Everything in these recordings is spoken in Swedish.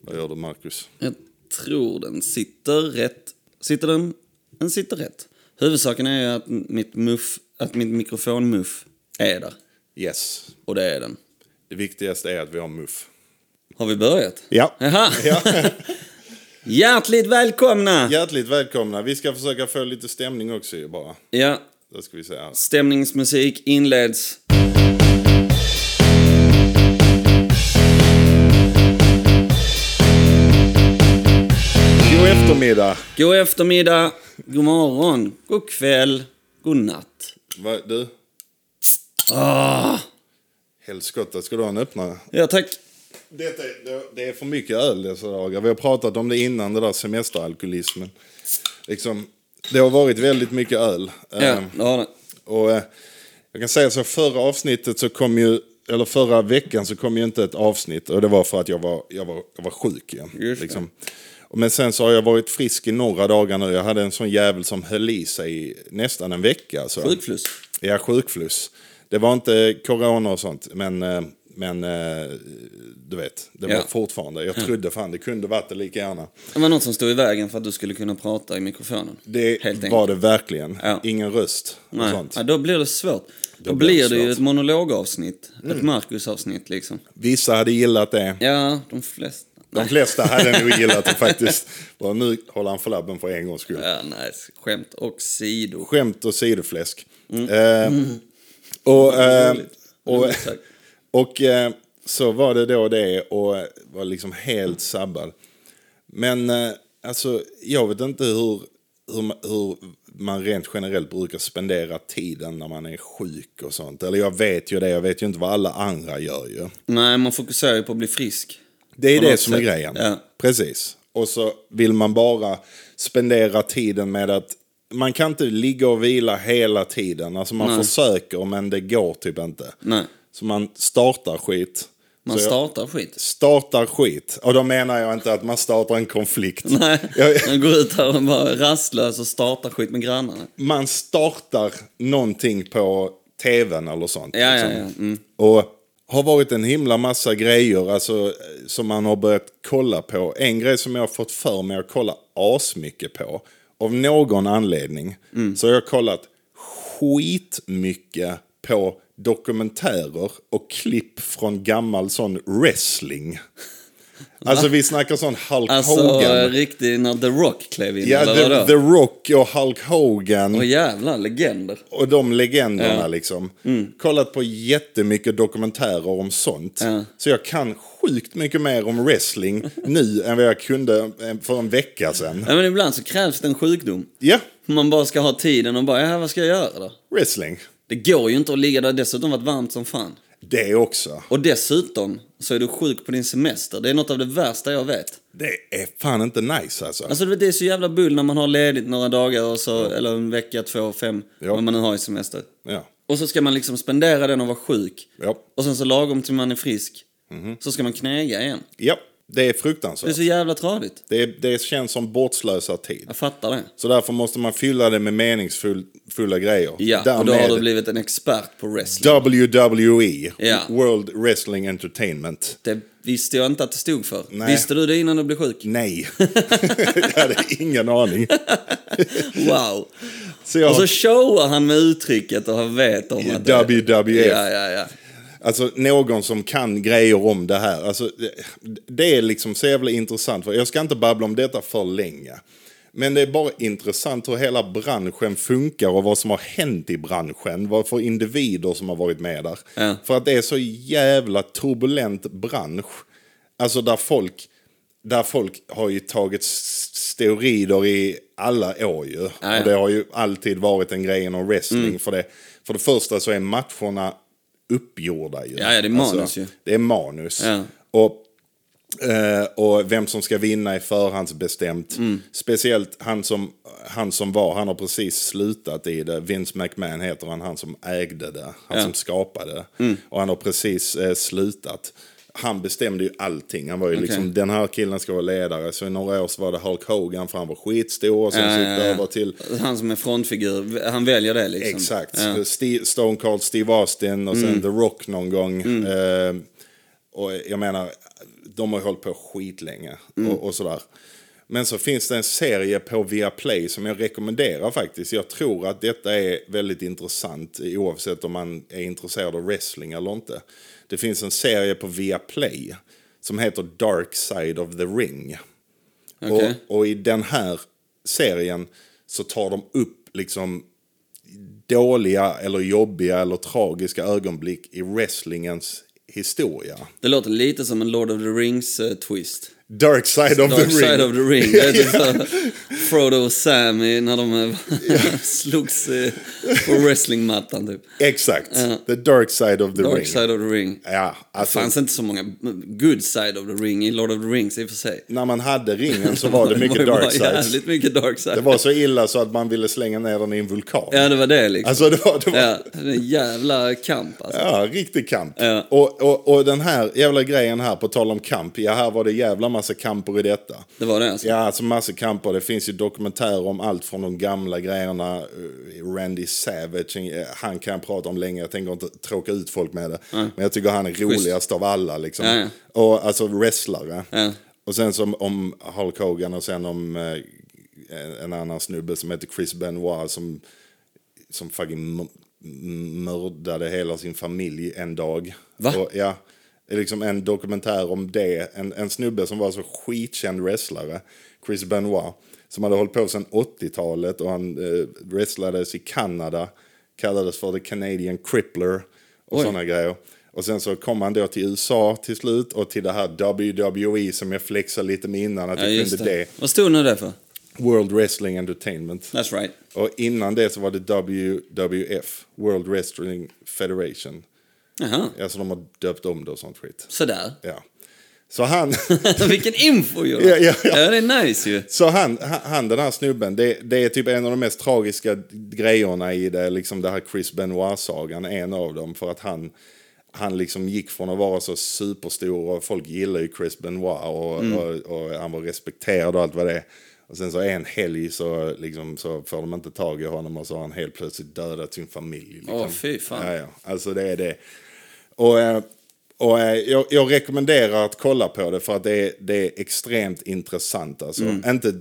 Vad gör du, Marcus? Jag tror den sitter rätt. Sitter den? Den sitter rätt. Huvudsaken är ju att mitt muff, att mitt mikrofonmuff är där. Yes. Och det är den. Det viktigaste är att vi har muff. Har vi börjat? Ja. Jaha! Hjärtligt välkomna! Ja. Hjärtligt välkomna. Vi ska försöka få lite stämning också ju bara. Då ska vi se här. stämningsmusik inleds. God eftermiddag. God eftermiddag, god morgon, god kväll, god natt. Va, du? Ah, Helskotta, ska du ha en öppnare? ja, tack. Detta, är- det, det är för mycket öl dessa dagar. Vi har pratat om det innan, den där semesteralkoholismen. Liksom, det har varit väldigt mycket öl. Ja, Ehm, det har det. Och eh, jag kan säga så förra avsnittet så kom ju, eller förra veckan så kom ju inte ett avsnitt. Och det var för att jag var, jag var, jag var sjuk igen. Just det. Liksom. Och Men sen så har jag varit frisk i några dagar nu. Jag hade en sån jävel som höll i sig i nästan en vecka. Så. Sjukfluss. Ja, sjukfluss. Det var inte corona och sånt, men, eh, men eh, du vet, det var Ja. fortfarande. Jag trodde fan det kunde varit det lika gärna. Det var något som stod i vägen för att du skulle kunna prata i mikrofonen. Det Helt enkelt. var det verkligen. Ja. Ingen röst och Nej. sånt. Ja, då blir det svårt. Då, blir det blir det svårt. ju Mm. ett monologavsnitt. Ett Marcus-avsnitt liksom. Vissa hade gillat det. Ja, de flesta. De flesta hade nog gillat det faktiskt. Bara nu håller han för labben för en gångs skull. Ja, nice. Skämt och sidor. Skämt och sidofläsk. Eh, och, eh, Roligt. och, Roligt sagt. och eh, så var det då det och var liksom helt sabbad. Men eh, alltså, jag vet inte hur, hur, ma- hur man rent generellt brukar spendera tiden när man är sjuk och sånt. Eller jag vet ju det, jag vet ju inte vad alla andra gör ju. Nej, man fokuserar ju på att bli frisk. Det är På det något som är sätt. grejen. Ja. Precis. Och så vill man bara spendera tiden med att man kan inte ligga och vila hela tiden. Alltså man försöker men det går typ inte. Nej, Så man startar skit. man så jag startar skit. startar skit. Och då menar jag inte att man startar en konflikt. Nej, Jag, man går ut här och bara är rastlös och startar skit med grannarna. man startar någonting på tvn eller sånt. Ja, ja, liksom. ja. Mm. Och har varit en himla massa grejer alltså, eh, som man har börjat kolla på. En grej som jag har fått för mig att kolla asmycket på. Av någon anledning Mm. så har jag kollat skitmycket på dokumentärer och klipp från gammal sån wrestling. Alltså vi snackar sån Hulk Alltså, Hogan. eh, riktigt när The Rock klev in, Ja, eller the, vadå? the Rock och Hulk Hogan. Åh jävlar, legender. Och de legenderna liksom. Mm. Kollat på jättemycket dokumentärer om sånt. Ja. Så jag kan sjukt mycket mer om wrestling nu än vad jag kunde eh, för en vecka sedan. Ja, men ibland så krävs det en sjukdom. Ja, Man bara ska ha tiden och bara, ja, vad ska jag göra då? wrestling. Det går ju inte att ligga där, dessutom har det varit varmt som fan. Det också. Och dessutom så är du sjuk på din semester. Det är något av det värsta jag vet. Det är fan inte nice alltså. Alltså du vet, det är så jävla bull när man har ledigt några dagar och så, eller en vecka, två, fem, Ja. vad man nu har i semester. Ja. Och så ska man liksom spendera den och vara sjuk. Ja. Och sen så lagom till man är frisk, Mhm. så ska man knäga igen. ja, det är Det är fruktansvärt. så jävla tradigt. Det, det känns som bortslösad tid. Jag fattar det. Så därför måste man fylla det med meningsfulla grejer. Ja, och då har du blivit en expert på wrestling. WWE, Ja. E, World Wrestling Entertainment. Det visste jag inte att det stod för. Nej. Visste du det innan du blev sjuk? Nej, jag hade ingen aning. Wow! Så jag, Och så showar han med uttrycket och han vet om att det... WWF, Ja, ja, ja. alltså någon som kan grejer om det här. Alltså, det, det är liksom så jävla intressant. För jag ska inte babbla om detta för länge. Men det är bara intressant hur hela branschen funkar och vad som har hänt i branschen. Vad för individer som har varit med där. Ja. För att det är så jävla turbulent bransch. Alltså där folk, där folk har ju tagit s- steroider i alla år ju. Ja, Mm. ja. Och det har ju alltid varit en grej inom wrestling. För, det, för det första så är matcherna uppgjorda ju. Alltså, Ja, ja, det är manus ju. Det är manus. Ja. Och, eh, och vem som ska vinna är förhandsbestämt. Mm. Speciellt han som, han som var, han har precis slutat i det. Vince McMahon heter han, han som ägde det. Han som skapade det. Mm. Och han har precis eh, slutat. Han bestämde ju allting. Han var ju liksom, den här killen ska vara ledare. Så i några år så var det Hulk Hogan för han var skitstor. Och sen så gick det över till Han som är frontfigur, han väljer det liksom. Exakt. Ja. Mm. Steve, Stone Cold Steve Austin och sen The Rock någon gång. Eh, och jag menar, De har ju hållit på skitlänge och, och sådär. Men så finns det en serie på Viaplay som jag rekommenderar faktiskt. Jag tror att detta är väldigt intressant oavsett om man är intresserad av wrestling eller inte. Det finns en serie på Viaplay som heter Dark Side of the Ring. Okej. Och, och i den här serien så tar de upp liksom dåliga eller jobbiga eller tragiska ögonblick i wrestlingens historia. Det låter lite som en Lord of the Rings-twist. Dark side of Dark the ring. side of the ring. Det är typ såhär Frodo och Sammy när de eh, slogs eh, på wrestlingmattan typ. Exakt. The dark side of the Dark ring. side of the ring. Ja, Det alltså fanns inte så många mm, good side of the ring i Lord of the Rings i och för sig. när man hade ringen så var det ju mycket bara dark sides. jävligt mycket dark side. Det var så illa så att man ville slänga ner den i en vulkan. Ja, det var det liksom. Alltså det var, det var ja, det är en jävla kamp alltså. Ja, riktig kamp. Ja. Och, och, och den här jävla grejen här, på tal om kamp. Ja, här var det jävla massa kamper i detta. Det var det alltså. Ja, alltså massa kamper. Det finns ju dokumentärer om allt från de gamla grejerna. eh, Randy Savage, eh, han kan jag prata om länge. Jag tänker inte tråka ut folk med det. Men jag tycker han är roligast av alla liksom. Ja, ja. Och alltså wrestlare. Ja. Och sen som om Hulk Hogan och sen om eh, en annan snubbe som heter Chris Benoit som, som fucking m- m- mördade hela sin familj en dag. Va? Och, ja, det är liksom en dokumentär om det. En, en snubbe som var så skitkänd wrestlare, Chris Benoit, som hade hållit på sedan 80-talet och han eh, wrestlades i Kanada, kallades för The Canadian Crippler och Oj. sådana grejer. Och sen så kom han då till USA till slut och till det här WWE som jag flexade lite med innan att Ja, jag just kunde det. det. Vad stod nu det för? World Wrestling Entertainment. That's right. Och innan det så var det WWF, World Wrestling Federation. Jaha, Alltså de har döpt om det och sånt skit. sådär. Ja. Så han, Vilken info Jonas! Ja, ja, ja. det är nice ju. så han, han- han den här snubben, det, det är typ en av de mest tragiska grejerna i det, liksom det här Chris Benoit-sagan, en av dem, för att han, han liksom gick från att vara så superstor och folk gillar ju Chris Benoit och, och, och han var respekterad och allt vad det är. Och sen så en helg så, liksom, så får de inte tag i honom och så har han helt plötsligt dödat sin familj. Liksom. Åh, fy fan. Ja, ja. Alltså det är det. Och, eh, och eh, jag, jag rekommenderar att kolla på det för att det är, det är extremt intressant. Alltså. Mm. Inte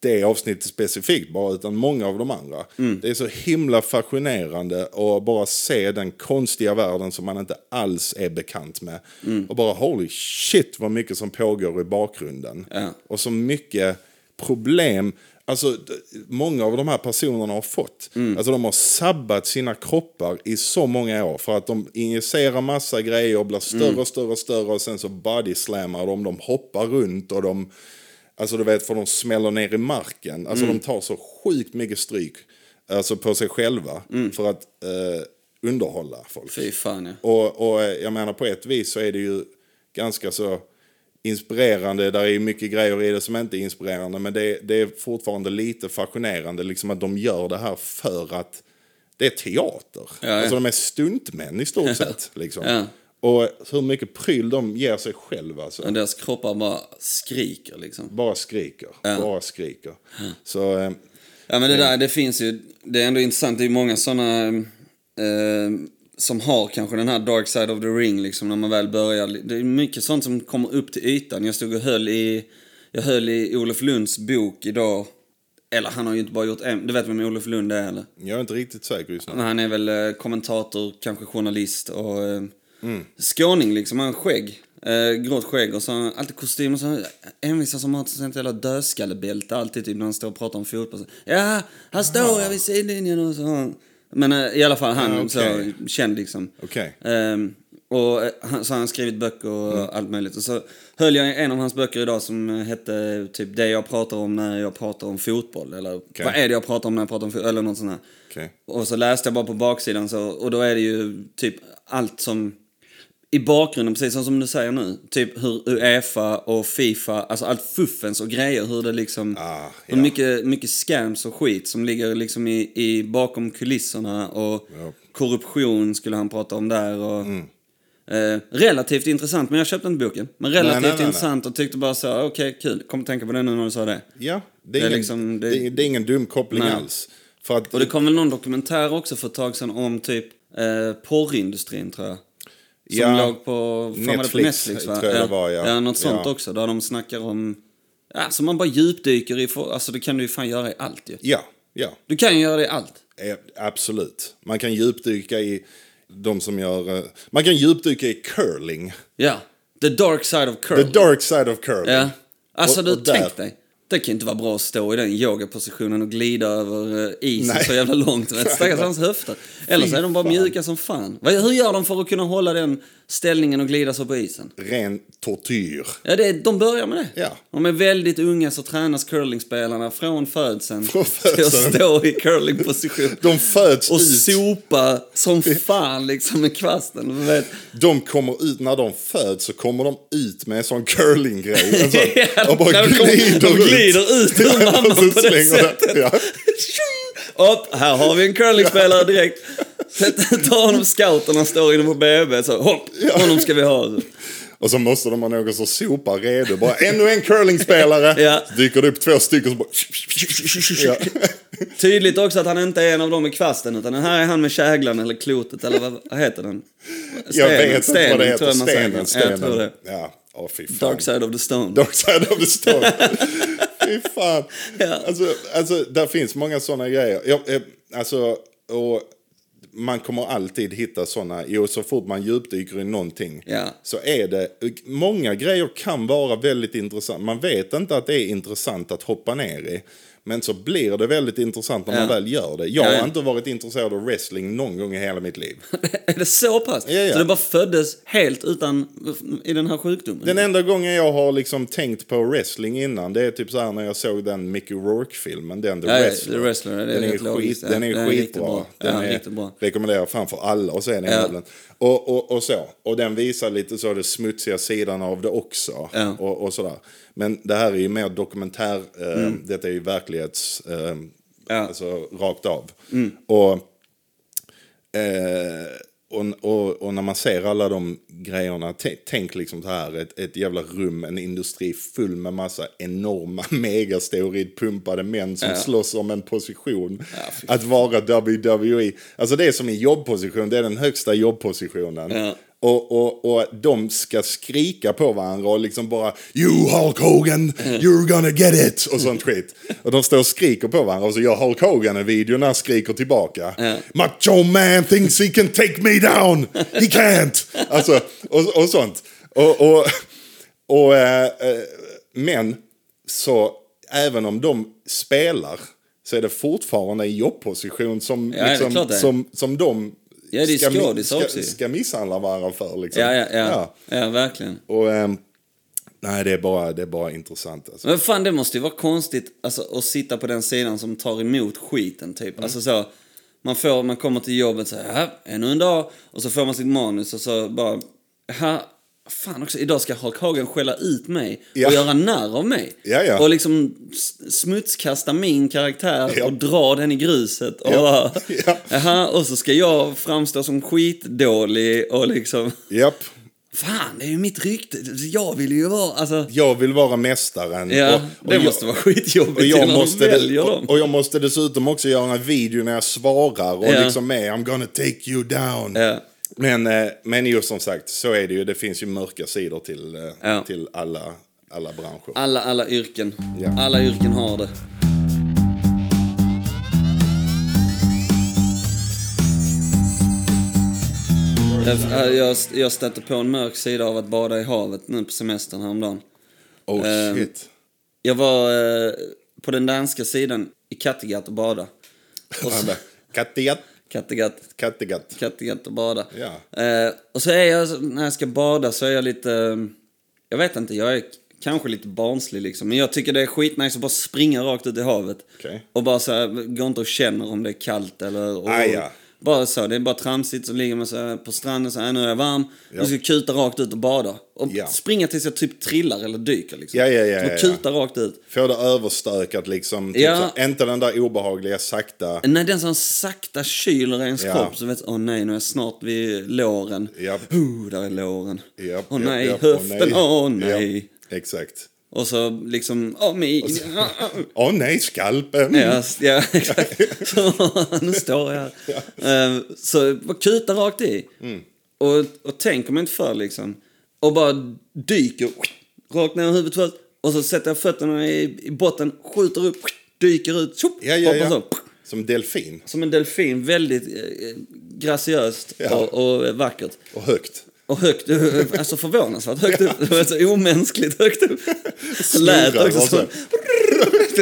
det avsnittet specifikt bara, utan många av de andra. Mm. Det är så himla fascinerande att bara se den konstiga världen som man inte alls är bekant med. Mm. Och bara holy shit vad mycket som pågår i bakgrunden. Ja. Och så mycket problem. Alltså, d- många av de här personerna har fått. Alltså, de har sabbat sina kroppar i så många år för att de injicerar massa grejer och blir större och större och större och sen så bodyslammar de, de hoppar runt och de... Alltså du vet, för de smäller ner i marken. Alltså de tar så sjukt mycket stryk alltså, på sig själva för att eh, underhålla folk. Fy fan ja. Och, och eh, jag menar på ett vis så är det ju ganska så inspirerande. Där är ju mycket grejer i det som inte är inspirerande. Men det, det är fortfarande lite fascinerande liksom att de gör det här för att det är teater. ja. Alltså de är stuntmän i stort sett. Liksom. Ja. Och hur mycket pryl de ger sig själva. Alltså. Men deras kroppar bara skriker liksom. Bara skriker. Bara skriker. Så, eh, Ja men det där, det finns ju, det är ändå intressant, det är ju många sådana eh, som har kanske den här dark side of the ring liksom när man väl börjar. Det är mycket sånt som kommer upp till ytan. Jag stod och höll i, jag höll i Olof Lunds bok idag. Eller han har ju inte bara gjort en, du vet vem Olof Lund är eller? jag är inte riktigt säker just nu. Men han är väl eh, kommentator, kanske journalist och eh, Mm. skåning liksom. Han har skägg. Eh, grått skägg och så har han alltid kostym och så envisas som att han har ett sånt jävla dödskallebälte alltid typ när han står och pratar om fotboll. Så, ja, han står här vid sidlinjen och så. har han- Men eh, i alla fall han Ah, okej. så känd liksom. Okej. Mm. Ehm, och eh, han, så har han skrivit böcker och allt möjligt. Och så höll jag i en av hans böcker idag som eh, hette typ det jag pratar om när jag pratar om fotboll. Eller vad är det jag pratar om när jag pratar om fotboll? Eller något sånt där. Okej. Och så läste jag bara på baksidan så, och då är det ju typ allt som i bakgrunden, precis som- som du säger nu. Typ hur Uefa och Fifa, alltså allt fuffens och grejer. Hur det liksom... Ah, hur ja. mycket, mycket scams och skit som ligger liksom i, i bakom kulisserna. Och Ja. korruption skulle han prata om där. Och, Mm. eh, relativt intressant, men jag köpte inte boken. Men relativt nej, nej. intressant och tyckte bara så, "Ah, okej kul. Kom att tänka på det nu när du sa det. Ja, det är, Det är ingen, liksom- det- det... är- det är ingen dum koppling Nej. alls. För att, Och det kom väl någon dokumentär också för ett tag sedan om typ eh, porrindustrin tror jag. Som Ja. låg på, fan var det på Netflix, Netflix va? tror jag det var, ja. något sånt Ja. också. Där de snackar om... Ja, så man bara djupdyker i... for- Alltså det kan du ju fan göra i allt ju. Ja, ja. Du kan ju göra det i allt. Eh, Absolut. Man kan djupdyka i de som gör... eh, Man kan djupdyka i curling. Ja. The dark side of curl. The dark side of curling. Ja. Alltså Och- du, och där- tänk dig. Det kan inte vara bra att stå i den yogapositionen och glida över eh, isen Nej. så jävla långt. vet. Stackars hans höfter. Eller så är de bara fan. mjuka som fan. Vad- Hur gör de för att kunna hålla den ställningen och glida så på isen? Ren tortyr. Ja, det, de börjar med det. Ja. De är väldigt unga så tränas curlingspelarna från födseln Från till att födseln. stå i curlingposition. De föds och ut. sopa som fan liksom med kvasten. Du vet. De kommer ut, när de föds så kommer de ut med en sån curlinggrej. En Ja, sån, och bara när de kommer- glider de ut. glider ut ur Ja, mamman och så på det slänger de- sättet. Ja. Upp, här har vi en curlingspelare direkt. Sätt- Ta honom scouten, han står inne på BB. Så hopp, honom ska vi ha. Och så måste de ha någon som sopar redo. Bara ännu en curlingspelare. Ja. Så dyker det upp två stycken som bara... Ja. Tydligt också att han inte är en av dem med kvasten, utan den här är han med käglan eller klotet, eller vad, vad heter den? Jag vet inte stenen, vad det heter. tror jag man säger. Stenen, Ja, jag tror stenen. det. Ja, åh fy fan. Dark side of the stone. Dark side of the stone. Fy fan. Ja. Alltså, alltså, där finns många sådana grejer. Jag, eh, alltså, och man kommer alltid hitta sådana. Jo, så fort man djupdyker i någonting Ja. så är det... Många grejer kan vara väldigt intressant. Man vet inte att det är intressant att hoppa ner i. Men så blir det väldigt intressant när man Ja. väl gör det. Jag Ja, ja. har inte varit intresserad av wrestling någon gång i hela mitt liv. Är det så pass? Ja, ja. Så det bara föddes helt utan, i den här sjukdomen? Den enda gången jag har liksom tänkt på wrestling innan det är typ så här när jag såg den Mickey Rourke-filmen, den The Ja, ja, Wrestler. The Wrestler, det är den, är helt logiskt, skit, ja. den är Den är riktigt skitbra. bra. Den Ja, är, riktigt bra. Rekommenderar fan för alla och se den Ja. jäveln. Och, och, och så. Och den visar lite så den smutsiga sidan av det också. Ja. Och, och sådär. Men det här är ju mer dokumentär, eh, detta är ju verklighets... Eh, Mm. Ja. Mm. Alltså rakt av. Och... Eh, och, och, och när man ser alla de grejerna, t- tänk liksom så här, ett, ett jävla rum, en industri full med massa enorma megasteroidpumpade män som Ja. slåss om en position. Ja, fy att vara WWE, alltså det är som en jobbposition, det är den högsta jobbpositionen. Ja. Och, och, och de ska skrika på varandra och liksom bara You Hulk Hogan, you're gonna get it! Och sånt skit. Och de står och skriker på varandra och så gör Hulk Hogan en video när han skriker tillbaka. Ja. Macho man thinks he can take me down! He can't! Alltså, och, och sånt. Och, och, och, eh, eh, men, så även om de spelar så är det fortfarande en jobbposition som, liksom Ja, det är klart det är. som, som de Ja, det är mi- skådisar ska, också ju. ska misshandla varandra för. Liksom. ja, ja, ja. ja. verkligen. Och, ehm, nej, det är bara, det är bara intressant. Alltså. Men fan, det måste ju vara konstigt alltså, att sitta på den sidan som tar emot skiten, typ. Mm. Alltså så, man, får, man kommer till jobbet så här, "Ja, ännu en dag, och så får man sitt manus och så bara, här, fan också, idag ska Hulk Hogan skälla ut mig Ja. och göra narr av mig. Ja, ja. Och liksom s- smutskasta min karaktär Ja. och dra den i gruset. Och, Ja. Ja. Aha, och så ska jag framstå som skitdålig och liksom... Japp. Fan, det är ju mitt rykte. Jag vill ju vara... Alltså, Jag vill vara mästaren. ja, och, och det jag, måste vara skitjobbigt och jag, innan de måste, väljer dem. och, och jag måste dessutom också göra en video när jag svarar och Ja. liksom är I'm gonna take you down. Ja. Men, eh, men just som sagt, så är det ju. Det finns ju mörka sidor till, eh, Ja. Ah, till alla, alla branscher. Alla, alla yrken. Ja. Alla yrken har det. Jag, jag, jag stötte på en mörk sida av att bada i havet nu på semestern häromdagen. Oh Ehm, shit. Jag var eh, på den danska sidan i Kattegatt och bada. Och Alltså, så, Kattegatt, Kattegatt. Kattegatt. Kattegatt och bada. Ja. Eh, och så är jag, när jag ska bada så är jag lite, eh, jag vet inte, jag är k- kanske lite barnslig liksom. Men jag tycker det är skitnice att bara springa rakt ut i havet. Okej. Och bara så här, går inte och känner om det är kallt eller... Och, Ah, ja. Bara så, det är bara tramsigt så ligger man så här på stranden så här, nu är jag varm. Ja. Nu ska jag kuta rakt ut och bada. Och Ja. springa tills jag typ trillar eller dyker liksom. Ja, ja, ja, så man ja, ja. kutar rakt ut. Få det överstökat liksom. Typ Ja. så, inte den där obehagliga sakta. När den som sakta kyler ens Ja. kropp så vet åh nej, nu är jag snart vid låren. Japp. Oh, där är låren. Japp, åh japp, nej, japp, åh höften, åh nej. Ja, exakt. Och så liksom, åh mig. ah, ah. Åh nej, skalpen. Ja, s- ja, Ehm, Mm. exakt. Så, nu står jag här. Eh, Så bara kuta rakt i. Och, och tänker mig inte för liksom. Och bara dyker rakt ner i huvudet först. Och så sätter jag fötterna i, i botten, skjuter upp, dyker ut, tjopp, Ja, ja, hoppar ja. så. Som delfin. Som en delfin, väldigt eh, graciöst Ja. och, och vackert. Och högt. Och högt upp, alltså förvånansvärt högt upp. Det var så omänskligt högt upp. Lät Snurrar också och som... så.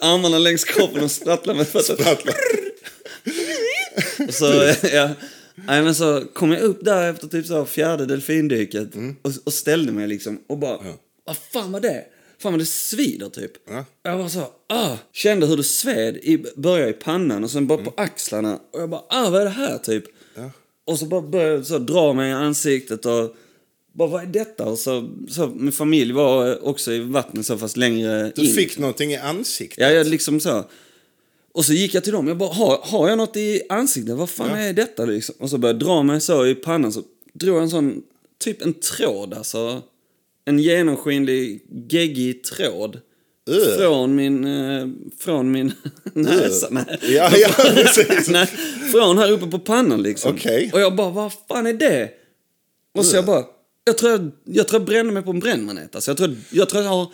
Armarna längs kroppen och sprattlar med fötterna. Rattlar. Så, ja. Nej, men så kom jag upp där efter typ så här fjärde delfindyket Mm. och, och ställde mig liksom och bara, vad fan var det? Fan vad det svider typ. Ja. Jag bara så, ah, kände hur det sved i början i pannan och sen bara Mm. på axlarna och jag bara, ah vad är det här typ? Och så bara började jag så dra mig i ansiktet och bara vad är detta? Och så, så min familj var också i vattnet så fast längre Du in. fick någonting i ansiktet. Ja, jag liksom så. Och så gick jag till dem. Jag bara, har, har jag något i ansiktet? Vad fan är detta liksom? Och så började jag dra mig så i pannan. Så drog jag en sån, typ en tråd alltså. En genomskinlig, geggig tråd. Ugh. Från min, eh, från min näsa. Nej. Ja, ja, precis. Nej, från här uppe på pannan liksom. Okej. Och jag bara, vad fan är det? Och så jag bara, jag tror jag, jag, tror jag brände mig på en brännmanet. Alltså. Jag, tror, jag tror jag har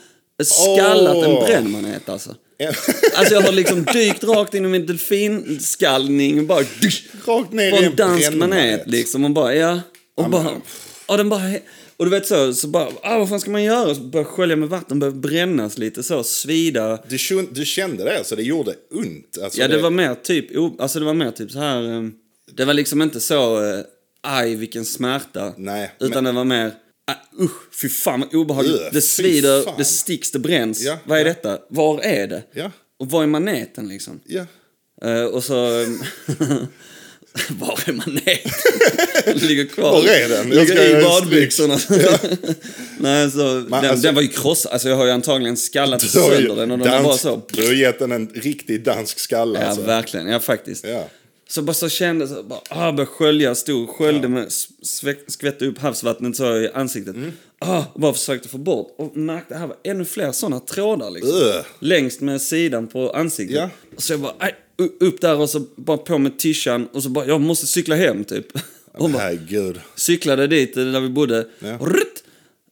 skallat en Åh. brännmanet alltså. Alltså jag har liksom dykt rakt in i min delfinskallning och bara... Dysch, Rakt ner på i en en dansk manet brännmanet. liksom och bara ja. Och bara... Och den bara... Och du vet så, så bara, ah, vad fan ska man göra? Så börjar jag skölja med vatten, börjar brännas lite så, svida. Du, kände- du kände det, så det gjorde ont. Alltså, Ja, det var mer typ, o- alltså det var mer typ så här, eh, det var liksom inte så, eh, aj vilken smärta. Nej, Utan det var mer, ah, usch, fy fan vad obehagligt. Ugh, fy det svider, fan. det sticks, det bränns. Ja, vad är detta? Var är det? Ja. Och var är maneten liksom? Ja. Eh, och så... var är maneten? ligger kvar. Var är den? Jag ska Ligger göra en i badbyxorna. Nej, så, den, alltså- den var ju krossad. Alltså, jag har ju antagligen skallat Du har ju sönder den och den var bara dans- så... Du har gett den en riktig dansk skalle. Ja, alltså. verkligen. Ja, faktiskt. Ja. Så bara så kände jag, bara, ah, började skölja, stod sköljde med, sve, skvätte upp havsvattnet så i ansiktet. Mm. Ah, och bara försökte få bort. Och märkte, här var ännu fler sådana trådar liksom. Ugh. Längst med sidan på ansiktet. Ja. Så jag bara, aj, u- upp där och så bara på med tishan och så bara, jag måste cykla hem typ. Hon bara, Herregud. cyklade dit eh, där vi bodde. Ja. Och rutt,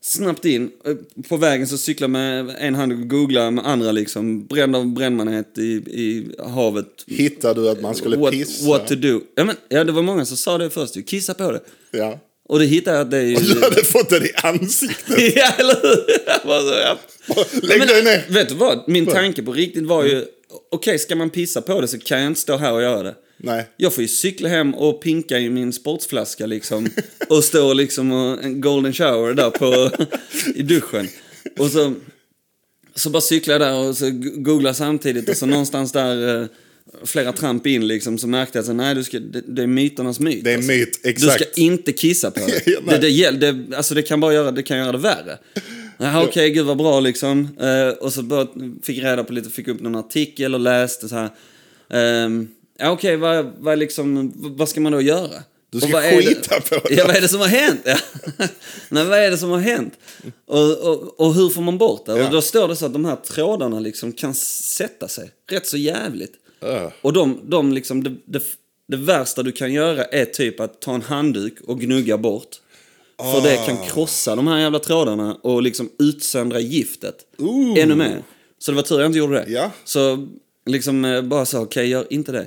snabbt in. Eh, På vägen så cyklar med en hand och googlar med andra liksom. Bränd av brännmanhet i, i havet. Hittade du att man skulle What, pissa? what to do. Ja, men, ja, det var många som sa det först ju. Kissa på det. Ja. Och det hittade jag att det är ju... Du hade fått den i ansiktet. ja, eller hur? Jag bara så, ja. Lägg Men, dig ner. Mm. Vet du vad? Min tanke på riktigt var ju... Okej, ska man pissa på det så kan jag inte stå här och göra det. Nej. Jag får ju cykla hem och pinka i min sportsflaska liksom. Och stå liksom och en golden shower där på, i duschen. Och så, så bara cykla där och så googla samtidigt. Och så någonstans där eh, flera tramp in liksom så märkte jag att nej, du ska, det, det är myternas myt. Det är alltså. myt, Du ska exakt. inte kissa på det. Ja, det, nej. det, gäll- det, alltså det kan bara göra det, kan göra det värre. Jaha, okej, gud vad bra liksom. Eh, och så bör, fick jag reda på lite, fick upp någon artikel och läste så här. Ehm, ja, okej, vad, vad, liksom, vad vad ska man då göra? Du Och ska vad är skita på det. Ja, vad är det som har hänt? Ja. Nej, vad är det som har hänt? Och, och, och hur får man bort det? Ja. Och då står det så att de här trådarna liksom kan sätta sig rätt så jävligt. Öh. Och de, de liksom, det, det, det värsta du kan göra är typ att ta en handduk och gnugga bort. För det Ah. kan krossa de här jävla trådarna och liksom utsöndra giftet. Ooh. Ännu mer. Så det var tur jag inte gjorde det. Ja. Så liksom eh, bara så, okej gör inte det.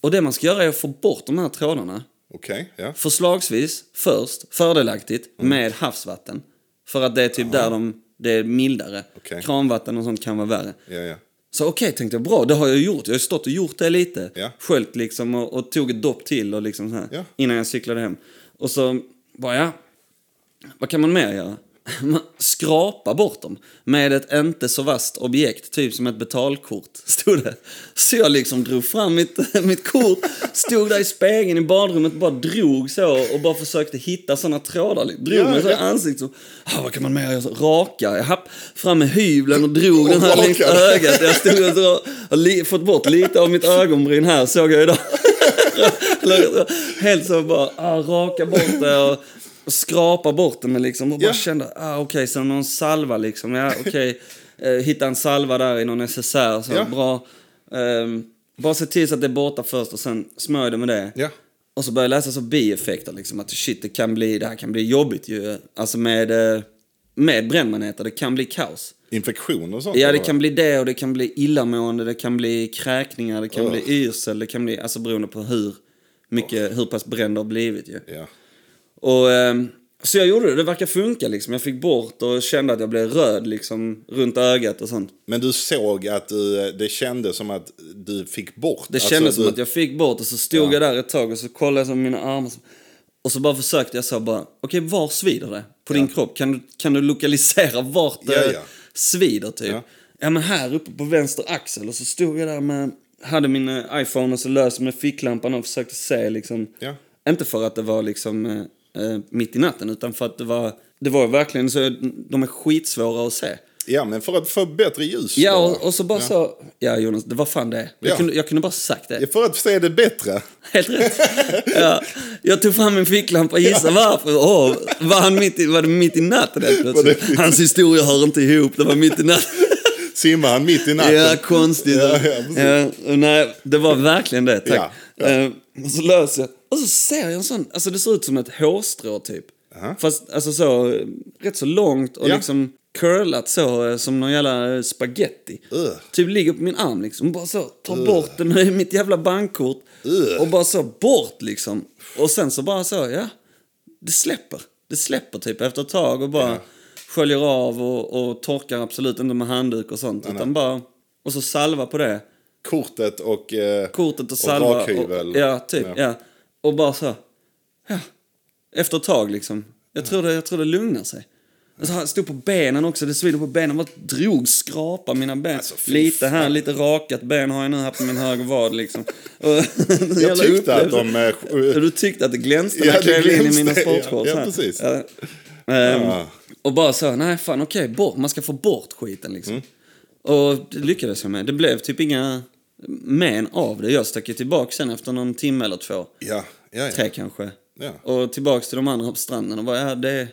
Och det man ska göra är att få bort de här trådarna. Okej, ja. Förslagsvis först, fördelaktigt, Mm. med havsvatten. För att det är typ där de, det är mildare. Okej. Kranvatten och sånt kan vara värre. ja, ja. Så okej, tänkte jag, bra, det har jag gjort. Jag har stått och gjort det lite. Ja. Sköljt liksom och, och tog ett dopp till och liksom så här, Ja. innan jag cyklade hem. Och så bara, ja, vad kan man mer göra? Man Skrapa bort dem med ett inte så vasst objekt, typ som ett betalkort, stod det. Så jag liksom drog fram mitt, mitt kort, stod där i spegeln i badrummet och bara drog så och bara försökte hitta sådana trådar. Drog Ja, mig så i ja. ansiktet. så, Ah, vad kan man mer göra? Så Raka, jag happ, fram med hyveln och drog den här Och längs rakade. ögat. Jag stod och så, har li, fått bort lite av mitt ögonbryn här såg jag idag. Eller, Helt så bara ah, raka bort det och, och skrapa bort det. Men liksom, och bara Ja. kände, ah, okej, så någon salva liksom. Ja, okej. Eh, Hitta en salva där i någon necessär. Så Ja. bra. Ehm, bara se till så att det är borta först och sen smörj det med det. Ja. Och så började jag läsa så bieffekter, liksom, att shit, det, kan bli, det här kan bli jobbigt ju. Alltså med, eh, med brännmaneter, det kan bli kaos. Infektion och sånt? Ja, det eller? kan bli det och det kan bli illamående, det kan bli kräkningar, det kan bli yrsel, det kan bli, alltså beroende på hur mycket, hur pass bränd det har blivit ju. Ja. Och, ehm, så jag gjorde det, det verkar funka liksom. Jag fick bort och kände att jag blev röd liksom runt ögat och sånt. Men du såg att du, det kändes som att du fick bort. alltså Det kändes som att jag fick bort och så stod jag där ett tag och så kollade jag så med mina armar. så- Och så bara försökte jag så bara, okej var svider det på din kropp? Kan du, kan du lokalisera vart det Ja, ja. svider typ? Ja. Ja. men här uppe på vänster axel och så stod jag där med, hade min eh, iPhone och så lös med ficklampan och försökte se liksom. Ja. Inte för att det var liksom eh, eh, mitt i natten utan för att det var, det var verkligen så, de är skitsvåra att se. Ja, men för att få bättre ljus. Ja bara. och, och så bara så, ja Jonas det var fan det. Jag, Ja. kunde, jag kunde bara sagt det. Ja, För att se det bättre. Helt rätt. Ja. Jag tog fram min ficklampa och gissa varför. Åh, var, han mitt i, var det mitt i natten helt Var plötsligt? Hans historia hör inte ihop, det var mitt i natten. Simmar han mitt i natten. Ja, konstigt. Ja, ja, precis. Ja, nej, det var verkligen det, tack. Ja, ja. Eh, och så löser jag. Och så ser jag en sån, alltså det ser ut som ett hårstrå typ. Aha. Fast alltså så, eh, rätt så långt och Ja. liksom curlat så, eh, som någon jävla eh, spaghetti. Ugh. Typ ligger på min arm liksom, bara så, tar bort den med mitt jävla bankkort. Ugh. Och bara så, bort liksom. Och sen så bara så, ja. Det släpper. Det släpper typ efter ett tag och bara sköljer av och, och torkar absolut inte med handduk och sånt. utan bara, och så salva på det. Kortet och... Eh, Kortet och salva. rakhyvel. ja, typ. Ja. Ja. Och bara så. Ja. Efter ett tag liksom. Jag tror det, jag tror det lugnar sig. Alltså, han stod på benen också. Det svider på benen. Vad drog, skrapa mina ben. Alltså, fy lite här, fan. lite rakat ben har jag nu här på min höger vad liksom. Och, Jag tyckte att de... Eh, sj- Du tyckte att det glänste när Ja, jag det klev in i glänste. mina sportshorts. Ja, ja, här. precis. Ja. Ehm, Ja. Och bara så, nej fan okej, bort. man ska få bort skiten liksom. Mm. Och det lyckades jag med. Det blev typ inga men av det. Jag stack ju tillbaka sen efter någon timme eller två. ja, ja, ja. Tre kanske. Ja. Och tillbaka till de andra på stranden och bara, ja det är,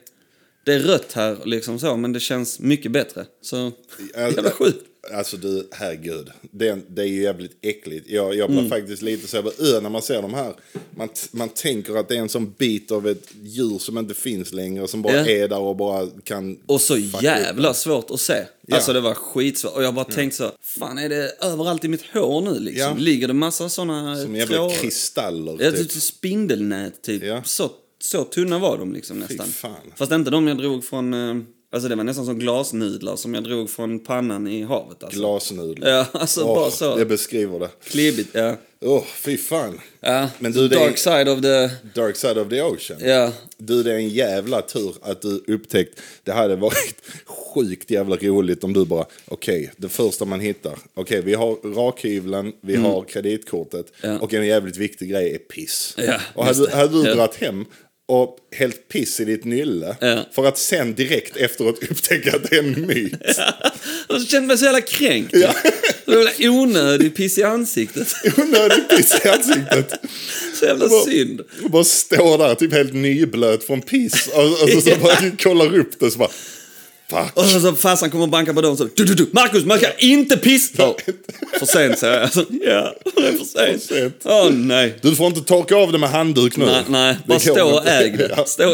det är rött här liksom så, men det känns mycket bättre. Så, jävla sjukt. Alltså du, herregud. Det, det är ju jävligt äckligt. Jag, jag blir Mm. faktiskt lite så jag bara, "Ö", när man ser de här. Man, t- man tänker att det är en sån bit av ett djur som inte finns längre. Som bara Ja. är där och bara kan... Och så fucka upp jävla svårt att se. Ja. Alltså det var skitsvårt. Och jag bara tänkte så, fan är det överallt i mitt hår nu liksom? Ja. Ligger det massa sådana Som jävla kristaller. Ja, typ. typ spindelnät typ. Ja. Så, så tunna var de liksom nästan. fan. Fast inte de jag drog från, eh, alltså det var nästan som glasnudlar som jag drog från pannan i havet alltså. Glasnudlar. Ja, alltså Åh, bara så. Det beskriver det. Klibbigt, ja. Åh, fy fan. ja. Men du, det är- Dark side of the, Dark side of the ocean. ja. Du, det är en jävla tur att du upptäckt. Det hade varit sjukt jävla roligt om du bara, okej, det första man hittar. Okej, vi har rakhyveln, vi har kreditkortet Mm. Ja. och en jävligt viktig grej är piss. Ja, och just hade, det. hade du Ja. dragit hem och hällt piss i ditt nylle Ja. för att sen direkt efteråt upptäcka att det är en myt. Jag kände mig så jävla kränkt. Ja. Onödig piss i ansiktet. Onödig piss i ansiktet. Så jävla Bara- synd. Och bara står där typ helt nyblöt från piss och, och så, så bara kollar upp det så bara... Fuck. Och så farsan kommer och bankar på dörren och så du, du, du, Marcus, man ska inte pissa på. För sent säger jag. Alltså, ja, det är för sent. För sent. Åh nej. Du får inte torka av det med handduk nu. Nej, nej. Det bara går stå och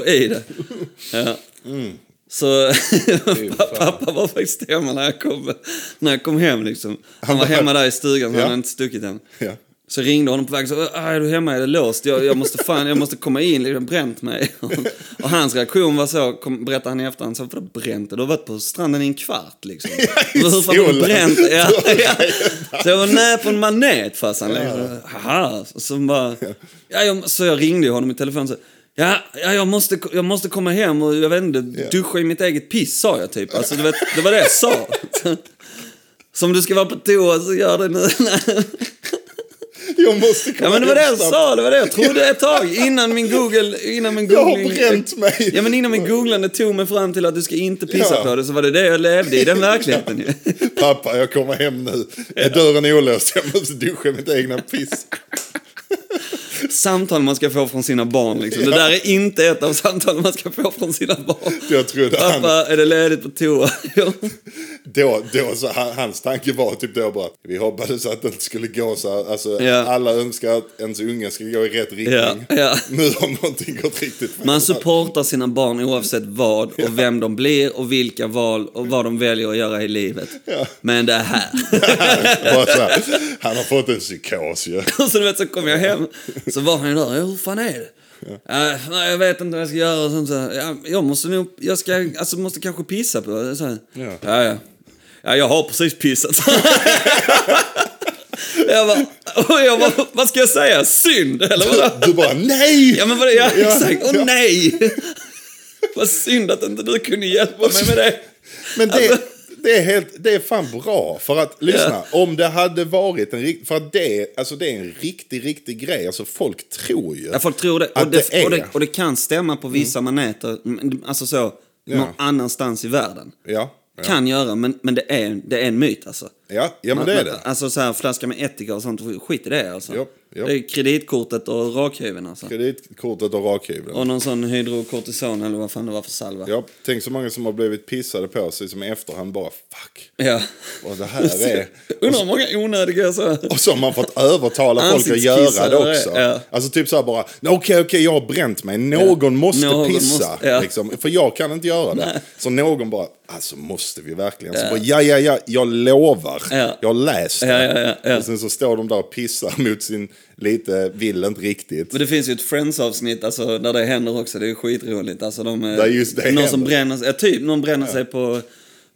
inte. äg det. Ja. Mm. Stå i det. Ja. Så pappa, pappa var faktiskt hemma när jag kom, när jag kom hem. Liksom. Han var var- hemma där i stugan, Ja. han hade inte stuckit än. Ja. Så ringde honom på väg så "Ah, är du hemma, är det låst? Jag, jag, måste, fan, jag måste komma in, det har bränt mig. Och hans reaktion var så, kom, berättade han i efterhand, så, vadå bränt? Du har varit på stranden i en kvart liksom. i Hur fan har du solen. bränt? Ja, ja. Så jag var nära på en manet farsan. Liksom. Haha. Och så, bara, ja, jag, så jag ringde ju honom i telefon så, ja, ja jag, måste, jag måste komma hem och jag vet inte, duscha i mitt eget piss sa jag typ. Alltså, du vet, det var det jag sa. Så om du ska vara på toa så gör det nu. Jag måste komma Ja men det var det jag hem snabbt. sa, det var det jag trodde ett tag innan min google... Innan min Jag har googling, bränt mig. Ja men innan min googlande tog mig fram till att du ska inte pissa Ja. på det så var det det jag levde i, den verkligheten ju. Pappa, jag kommer hem nu. Är dörren olåst? Jag måste duscha mitt egna piss. Samtal man ska få från sina barn liksom. Det där är inte ett av samtalen man ska få från sina barn. Jag trodde han- Pappa, är det ledigt på toa? Ja. då, då så, han- hans tanke var typ då bara, vi hoppades att det inte skulle gå så här. Alltså, Ja. alla önskar att ens unge ska gå i rätt riktning. Ja, ja. Nu har någonting gått riktigt fel. Man supportar sina barn oavsett vad och vem de blir och vilka val och vad de väljer att göra i livet. Ja. Men det här. Bara så här, han har fått en psykos ju. Och så, du vet, så kom jag hem, så var han ju där. "Ja, Hur fan är det? Ja. nej, jag vet inte vad jag ska göra. Och sen så, ja, jag måste nog, jag ska, alltså måste kanske pissa på det. Så, här. Ja. Ja, ja. ja, jag har precis pissat. jag bara, och jag bara, vad ska jag säga? Synd, eller vadå? Du bara nej! Ja, men vad ja, Ja, exakt. Åh ja. nej! vad synd att inte du kunde hjälpa mig med det. Men det, Alltså- det, är helt, det är fan bra. För att, lyssna, om det hade varit en riktig... För att det, alltså det är en riktig, riktig grej. Alltså folk tror ju. Ja, folk tror det. Och Att det, det är. och, det, Mm. och det kan stämma på vissa maneter, m- alltså så, någon annanstans i världen. Ja, ja. Kan göra, men, men det, är, det är en myt alltså. ja, ja men det är det. Alltså så här, flaska med ättika och sånt, skit i det alltså. Ja, ja. Det är kreditkortet och rakhyveln alltså. Kreditkortet och rakhyveln. Och någon sån hydrokortison eller vad fan det var för salva. Ja, tänk så många som har blivit pissade på sig som i efterhand bara fuck. Ja. Och det här är... Undrar hur många onödiga så här. Och så har man fått övertala folk att göra det Ansiktskissar, också. ja. Alltså typ så här bara, "Nej, okej, okej, jag har bränt mig. Någon måste Någon pissa. måste- ja. liksom, för jag kan inte göra det. Så någon bara, alltså måste vi verkligen? Så bara, ja, ja, ja, jag lovar. Ja. Jag har läst det. Ja, ja, ja, ja. Och sen så står de där och pissar mot sin lite, vill inte riktigt. Men det finns ju ett Friends-avsnitt alltså, där det händer också. Det är ju skitroligt. Alltså, de, Där just det någon händer. som bränner sig, ja, typ, någon bränner sig på,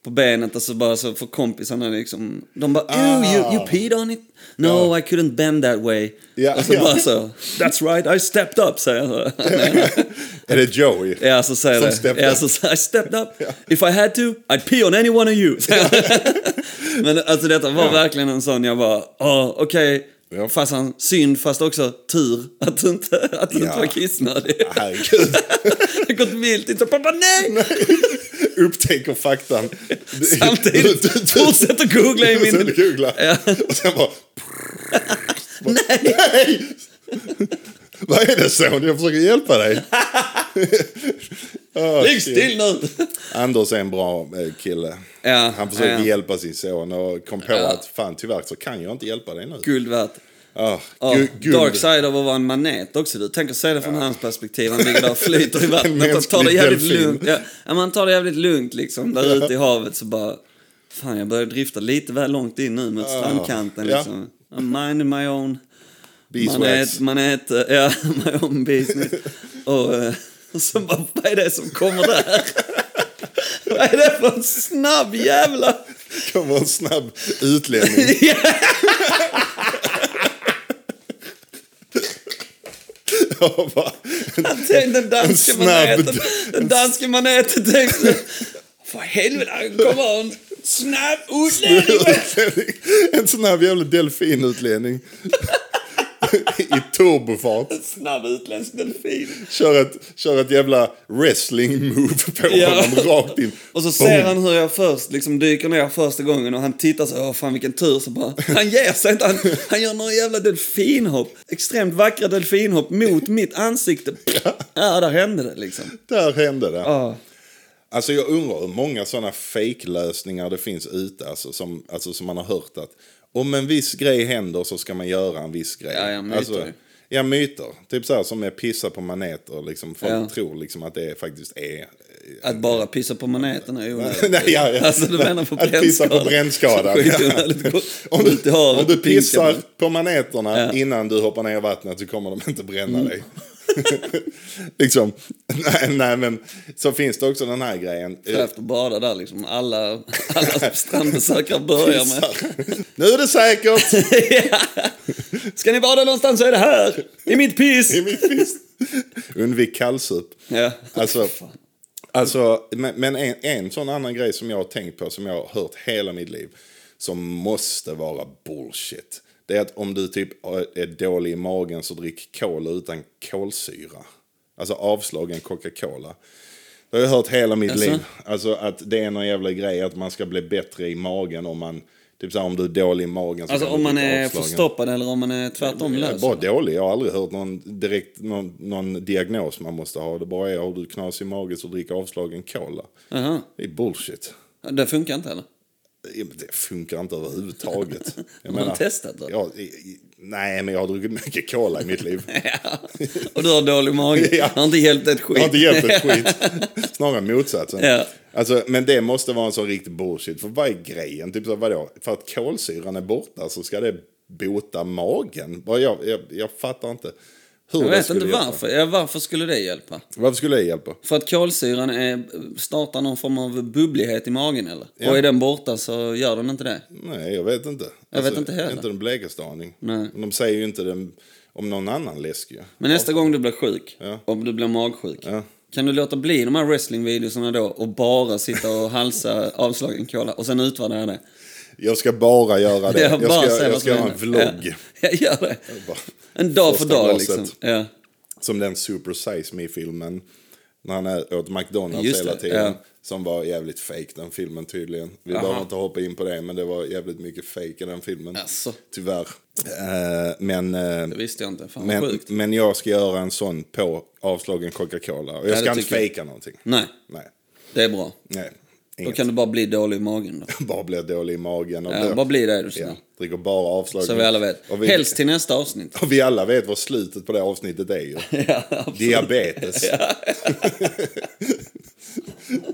på benet och så bara så får kompisarna liksom... De bara Ah. oh, you, you peed on it? No, I couldn't bend that way. Ja, och så ja. bara så, that's right, I stepped up, säger jag. så. Nej, nej. Är det Joey? Ja, alltså så säger Som det. stepped ja, up. Så, säger jag, I stepped up. If I had to, I'd pee on any one of you. säger jag. Men alltså detta var verkligen en sån jag bara, åh, okej. Ja. Fast han, synd, fast också tur att du inte, att du inte Ja. var kissnödig. Herregud. Det har gått vilt inte. Pappa, nej! Upptäcker faktan. Samtidigt Du- du- du- fortsätter googla i Och sen min... googla. Ja. Och sen bara... Nej! Nej! Vad är det son? Jag försöker hjälpa dig. Oh, Ligg still nu! Anders är en bra eh, kille. Ja, Han försöker ja, ja. hjälpa sin son och kom på att fan tyvärr så kan jag inte hjälpa dig nu. Guld värt. Oh, Ja, gu- guld. Dark side av att vara en manet också. Du tänker se det från hans perspektiv. Han ligger där och flyter i En vattnet och tar det mänsklig jävligt delfin. lugnt. Ja, ja, man tar det jävligt lugnt liksom. Där ute i havet så bara... Fan, jag börjar drifta lite väl långt in nu mot strandkanten ja. liksom. I'm minding my own... Beeswax. Manet, manet, eh, ja, my own business. och, eh, och så bara, vad är det som kommer där? vad är det för en snabb jävla... Kommer en snabb utlänning. Och bara, Tänk den danske En snabb maneten. d- Den danske maneten tänkte... För helvete, han kommer en snabb utlänning. utlänning. en snabb jävla delfinutlänning. I turbofart. Snabb utländsk delfin. Kör ett, kör ett jävla wrestling-move på Ja. honom rakt in. Och så ser han hur jag först liksom dyker ner första gången och han tittar så, åh fan vilken tur, så bara, han ger sig inte, han, han gör några jävla delfinhopp, extremt vackra delfinhopp mot mitt ansikte. Ja, där hände det liksom. Där hände det. Ja. Alltså jag undrar hur många sådana fake-lösningar det finns ute, alltså som, alltså som man har hört att om en viss grej händer så ska man göra en viss grej. Ja, ja, myter. Alltså, ja, myter. Typ så här som är pissa på maneter, liksom folk Ja. tror liksom att det faktiskt är... Att bara pissa på maneten är onödigt. Nej, ja, ja. Alltså du menar på Att pissa på brännskadan. Skitonödigt. Om du, Ut i havet om du och pinka pissar på- på maneterna innan du hoppar ner i vattnet så kommer de inte bränna Mm. dig. liksom, nej, nej men så finns det också den här grejen. Efter att bada där liksom. Alla, alla strandbesökare börjar med. Pissar. Nu är det säkert! Ska ni bada någonstans så är det här! I mitt piss! i min fist. Undvik kallsup. Ja. Alltså, alltså, men men en, en sån annan grej som jag har tänkt på, som jag har hört hela mitt liv, som måste vara bullshit. Det är att om du typ är dålig i magen så drick cola utan kolsyra. Alltså avslagen Coca-Cola. Det har jag hört hela mitt Jaså? liv. Alltså att det är någon jävla grej att man ska bli bättre i magen om man... Typ såhär om du är dålig i magen så Alltså kan du om man dricka är avslagen. förstoppad eller om man är tvärtom Jag är lös. Eh, bara dålig. Jag har aldrig hört någon, direkt, någon, någon diagnos man måste ha. Det bara är har du knas i magen så drick avslagen cola. Jaha. Det är bullshit. Det funkar inte heller. Ja, men Det funkar inte överhuvudtaget. Jag Har du testat då? Ja, i- i- nej, men jag har druckit mycket cola i mitt liv. Ja. Och du har dålig mage. Ja. Har inte hjälpt ett skit. Det har inte hjälpt ett skit. Snarare motsatsen. Ja. Alltså, men det måste vara en sån riktig bullshit. För vad är grejen? Typ så, vadå? För att kolsyran är borta så ska det bota magen? Vad Jag, jag, jag fattar inte. Hur Jag det vet skulle inte hjälpa. varför. Ja, varför skulle det hjälpa? Varför skulle det hjälpa? För att kolsyran är, startar någon form av bubblighet i magen eller? Och är den borta så gör den inte det. Nej, jag vet inte. Alltså, Jag vet inte heller. Inte den blekaste aning. Nej. De säger ju inte den, om någon annan läsk ju. Men nästa gång du blir sjuk, om du blir magsjuk, kan du låta bli de här wrestlingvideorna då och bara sitta och halsa avslagen kola och sen utvärdera det? Jag ska bara göra det. Jag, bara ska, säga jag vad ska som göra en händer. vlogg. Ja, ja gör det. bara- En dag för Första dag glaset. liksom. Ja. Som den Super Size Me-filmen. När han är åt McDonalds Just hela det, tiden. ja. Som var jävligt fake den filmen tydligen. Vi Aha. behöver inte hoppa in på det men det var jävligt mycket fake i den filmen. Asså. Tyvärr. Eh, men, eh, Alltså. Det visste jag inte. Fan vad men, sjukt. men jag ska göra en sån på avslagen Coca-Cola. Och jag det ska inte tycker jag. fejka någonting. Nej, Nej. det är bra. Nej. Då Inget. kan du bara bli dålig i magen då. Bara blir dålig i magen. Och Ja, blir- bara bli det är du ja, snäll. dricker bara avslagen. Så vi alla vet. Och vi, Helst till nästa avsnitt. och vi alla vet vad slutet på det avsnittet är ju. Ja, absolut. Diabetes.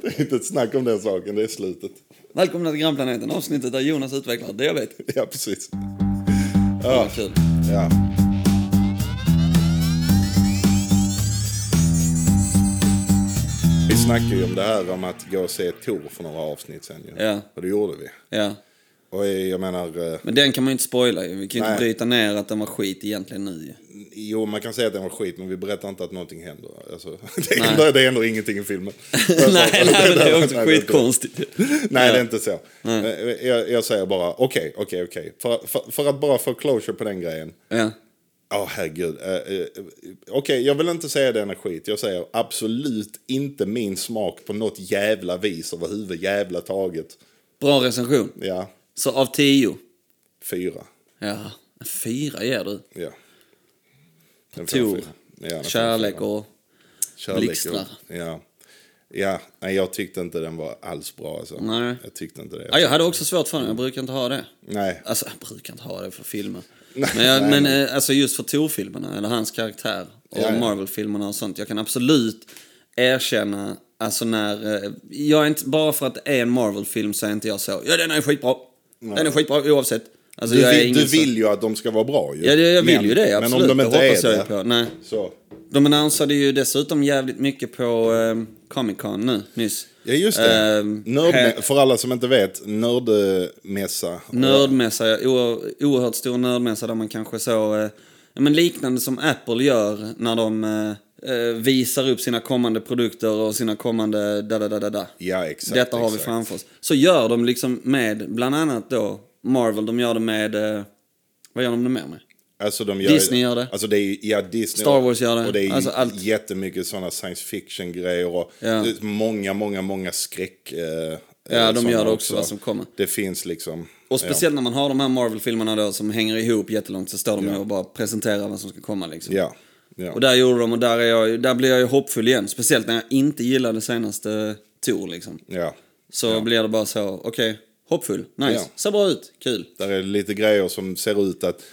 det är inte ett snack om den saken, det är slutet. Välkomna till Grannplaneten, avsnittet där Jonas utvecklar diabetes. Ja, precis. Ja. Kul. Ja. Vi snackade ju om det här om att gå och se Tor för några avsnitt sen ju. Ja. Och det gjorde vi. Ja. Och jag menar, eh, Men den kan man ju inte spoila ju. Vi kan ju inte Nej. bryta ner att den var skit egentligen nu ju. jo man kan säga att den var skit men vi berättar inte att någonting händer. Alltså, det, händer det händer ingenting i filmen. nej, nej, men det är också Nej, inte- skitkonstigt. Nej, Ja. det är inte så. Eh, Jag, jag säger bara okej, okej, okej. För, för, för att bara få closure på den grejen. Ja. Ja, herregud. Eh, eh, Okej, jag vill inte säga den är skit. Jag säger absolut inte min smak på något jävla vis överhuvud jävla taget. Bra recension. Ja, Så av tio. fyra. Ja. En fyra ger du. Ja. Den får Tor. fyra. Ja, den får Kärlek fyra. och... Kärlek blixtrar. Ja. Ja, nej, jag tyckte inte den var alls bra. Alltså. Nej. Jag tyckte inte det. Ja, jag hade också svårt för den. Jag brukar inte ha det. Nej. Alltså, jag brukar inte ha det för filmer. Nej, men jag, nej, men nej. eh, alltså just för Tor-filmerna, eller hans karaktär, och Ja, ja. Marvel-filmerna och sånt. Jag kan absolut erkänna, alltså när... eh, Jag är inte, bara för att det är en Marvel-film så är inte jag så, ja den är skitbra. Den är skitbra oavsett. Alltså, Du, jag är vill, ingen du så- vill ju att de ska vara bra ju. Ja, jag, jag vill men, ju det, absolut. Men om de inte det hoppas är jag ju på. det. Nej. Så. De annonsade ju dessutom jävligt mycket på eh, Comic Con nu, nyss. Ja, just det. Ehm, Nörd, här- för alla som inte vet, nördmässa. Nördmässa, o- oerhört stor nördmässa där man kanske så... Eh, ja, men liknande som Apple gör när de eh, eh, visar upp sina kommande produkter och sina kommande da da da da da. Ja, exakt. Detta har vi exakt. framför oss. Så gör de liksom med, bland annat då, Marvel, de gör det med... Eh, vad gör de det mer med? Alltså, de gör, Disney gör det. Alltså, det är, ju- ja, Disney Star Wars gör det. Och det är ju Alltså, allt. jättemycket sådana science fiction-grejer. Och Ja. det är Många, många, många skräck... Eh, ja, Ja, de gör det också, vad som kommer. Det finns liksom... Och speciellt när man har de här Marvel-filmerna då som hänger ihop jättelångt så står de ju och bara presenterar vad som ska komma liksom. Ja. ja. ja. Och där gjorde de och där, är jag, ju- där blir jag ju hoppfull igen. Speciellt när jag inte gillade senaste Tor liksom. ja. Så blir det bara så, okej, hoppfull, nice, Ja. ser bra ut, kul. Där är lite grejer som ser ut att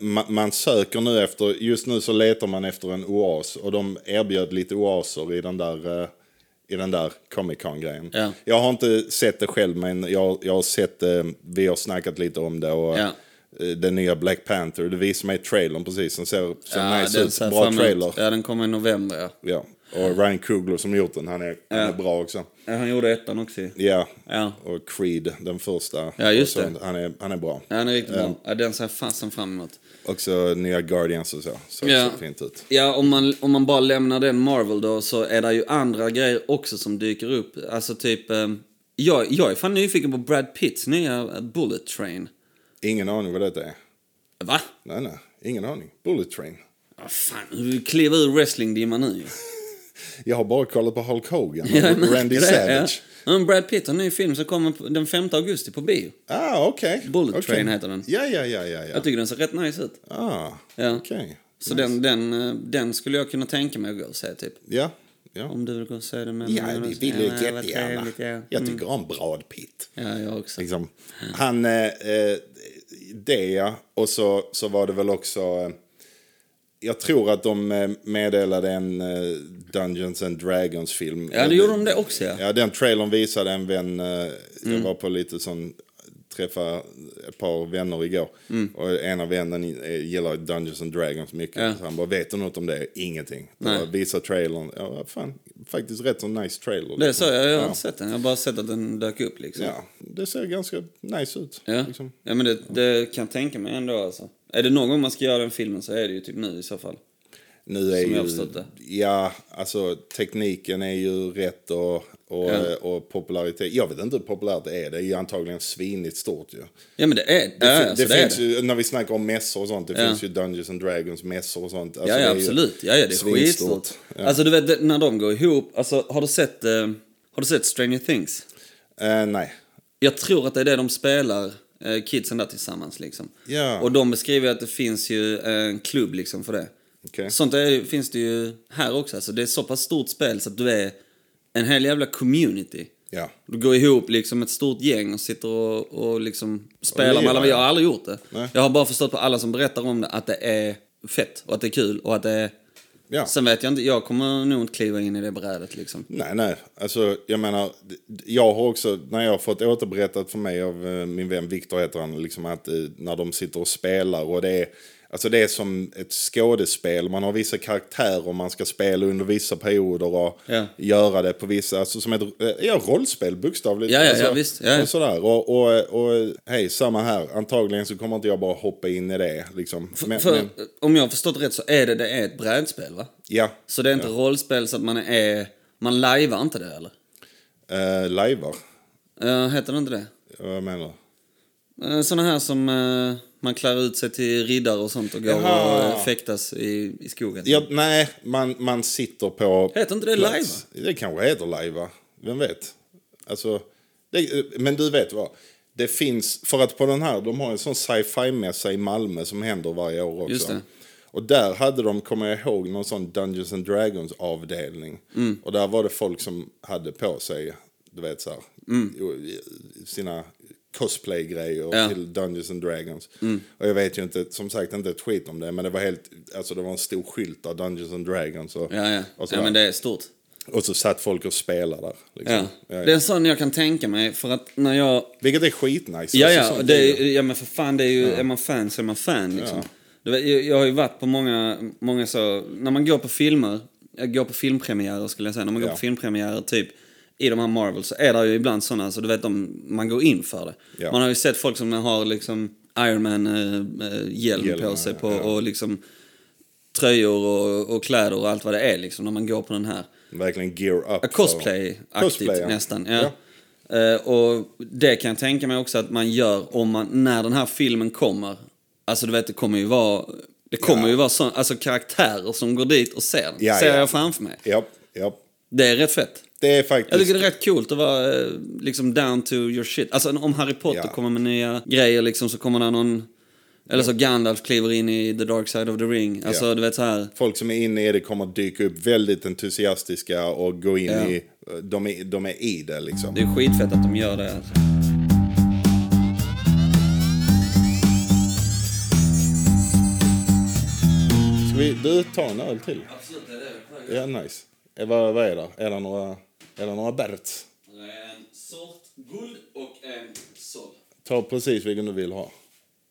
man, man söker nu efter, just nu så letar man efter en oas och de erbjöd lite oaser i den där, eh, i den där Comic Con-grejen. Ja. Jag har inte sett det själv men jag, jag har sett det, vi har snackat lite om det och Ja. eh, den nya Black Panther, du visade mig trailern precis, den ser, ser nice den ut, ser bra fram emot. trailer. Ja. Ja, den kommer i november ja. Och Ryan Coogler som gjort den, han är, han är bra också. ja han gjorde ettan också ju. Ja. Ja. och Creed, den första. Ja, just Och så- det. Han är, han är bra. Ja, den är riktigt bra. Ja, den ser fasen fram emot. Också nya Guardians och så. Så Ja. det ser fint ut. Ja, om man, om man bara lämnar den Marvel då så är det ju andra grejer också som dyker upp. Alltså typ, eh, jag, jag är fan nyfiken på Brad Pitts nya eh, Bullet Train. Ingen aning vad detta är. Va? Nej, nej. Ingen aning. Bullet Train. Ah, fan, kliva ur wrestlingdimman nu ju. Jag har bara kollat på Hulk Hogan och Jag märker Randy det, Savage. Ja. Men Brad Pitt har en ny film som kommer på- den 5 augusti på bio. Ah, okej. Bullet Okej. Train heter den. Ja, ja, ja, ja. ja. Jag tycker den ser rätt nice ut. Ah, Ja. okej. Så den, den, eh, den skulle jag kunna tänka mig att gå och se typ. Ja, Ja. Om du vill gå och se den med Ja, mig. det Jonas. vill Ja, jag men vad jättegärna. trevligt, Ja. Mm. Jag tycker om Brad Pitt. ja, jag också. Liksom. Han, eh, eh, det ja. Och så, så var det väl också... Eh, jag tror att de eh, meddelade en eh, Dungeons and Dragons-film. Ja, det gjorde de det Mm. också, ja. Ja, den trailern visade en vän. eh, Jag var på lite sån träffa ett par vänner igår. Mm. Och en av vännen eh, gillar Dungeons and Dragons mycket. Ja. Så han bara, vet du något om det? Ingenting. Bara, visa trailern. Ja, fan. Faktiskt rätt så nice trailer. Det är så, liksom. jag, jag har Ja. inte sett den. Jag har bara sett att den dök upp liksom. Ja, det ser ganska nice ut. Ja, Liksom. ja men det, det kan jag tänka mig ändå alltså. Är det någon gång man ska göra den filmen så är det ju typ nu i så fall. Nu är Som jag har ju, förstått det. Ja, alltså tekniken är ju rätt och, och, Ja. och popularitet. Jag vet inte hur populärt det är. Det är ju antagligen svinigt stort ju. Ja men det är det. Det, Ja, fin- alltså, det det är finns det. ju, när vi snackar om mässor och sånt, det Ja. finns ju Dungeons and Dragons mässor och sånt. Alltså, Ja, det ja är ju absolut. Ja, ja det är svinstort. skitstort. Ja. Alltså du vet det- när de går ihop. Alltså har du sett, eh, har du sett Stranger Things? Eh, nej. Jag tror att det är det de spelar, eh, kidsen där tillsammans liksom. Ja. Och de beskriver att det finns ju en klubb liksom för det. Okej. Sånt är, finns det ju här också. Alltså, det är så pass stort spel så att du är en hel jävla community. Ja. Du går ihop liksom ett stort gäng och sitter och, och liksom spelar med lirar, alla. Jag har aldrig gjort det. Nej. Jag har bara förstått på alla som berättar om det att det är fett och att det är kul och att det är... Ja. Sen vet jag inte, jag kommer nog inte kliva in i det brädet liksom. Nej, nej. Alltså, jag menar, d- d- jag har också, när jag har fått återberättat för mig av eh, min vän Viktor heter han, liksom att eh, när de sitter och spelar och det är, alltså det är som ett skådespel. Man har vissa karaktärer man ska spela under vissa perioder och Ja. göra det på vissa, alltså som ett eh, ja, rollspel bokstavligt. Ja, ja, alltså, ja, visst. Ja, ja. Och sådär. Och, och, och hej, samma här. Antagligen så kommer inte jag bara hoppa in i det liksom. Men, för, men, Om jag har förstått rätt så är det, det är ett brädspel va? ja, Så det är inte rollspel så att man är... Man lajvar inte det eller? uh, lajvar. Uh, heter det inte det? Vad menar du? Uh, Såna här som eh, man klär ut sig till riddare och sånt och går Jaha. och eh, fäktas i, i skogen. Ja, nej, man, man sitter på... Heter inte det plats. Det kanske heter live, va? Vem vet? Alltså, det, men du vet vad? Det finns, för att på den här, de har en sån sci-fi-mässa i Malmö som händer varje år också. Just det. Och där hade de, kommer jag ihåg, någon sån Dungeons and Dragons avdelning. Mm. Och där var det folk som hade på sig, du vet så här, sina cosplay-grejer Mm. Ja. Mm. till Dungeons and Dragons. Och jag vet ju inte, som sagt inte ett skit om det, men det var helt, alltså det var en stor skylt av Dungeons and Dragons. Och, Ja, ja. och, så ja där. men det är stort. och så satt folk och spelade där. Liksom. Ja. Ja, ja. Det är en sån jag kan tänka mig för att när jag... Vilket är skitnice. Ja, Alltså, ja, sånt det är ju- är, ja men för fan, det är ju, är man fan så är man fan liksom. Ja. Du vet, jag, jag har ju varit på många, många så, när man går på filmer, jag går på filmpremiärer skulle jag säga, när man går Ja. på filmpremiärer typ i de här Marvel så är det ju ibland sådana, så du vet om man går in för det. Ja. Man har ju sett folk som har liksom Iron Man-hjälm Hjälm, på sig på, ja. och liksom tröjor och, och kläder och allt vad det är liksom när man går på den här. Verkligen gear up. Ja, Cosplay-aktigt Cosplay, ja. nästan. Ja. Eh, och det kan jag tänka mig också att man gör om man, när den här filmen kommer. Alltså du vet, det kommer ju vara, det kommer Ja. ju vara sån, alltså, karaktärer som går dit och ser den. Ja, ser ja. jag framför mig. Ja, ja. Det är rätt fett. Det är faktiskt... Jag tycker det är rätt coolt att vara eh, liksom down to your shit. Alltså om Harry Potter Ja. kommer med nya grejer liksom så kommer det någon... Eller så Gandalf kliver in i the dark side of the ring. Alltså Ja. du vet så här. folk som är inne i det kommer dyka upp väldigt entusiastiska och gå in Ja. i... eh, De är, de är i det liksom. Det är skitfett att de gör det alltså. Ska vi, du, ta en öl till. Absolut, det är det. Ja, nice. Eh, Vad, vad är det? Är det några, är det några Berts? En sort guld och en sol. Ta precis vilken du vill ha.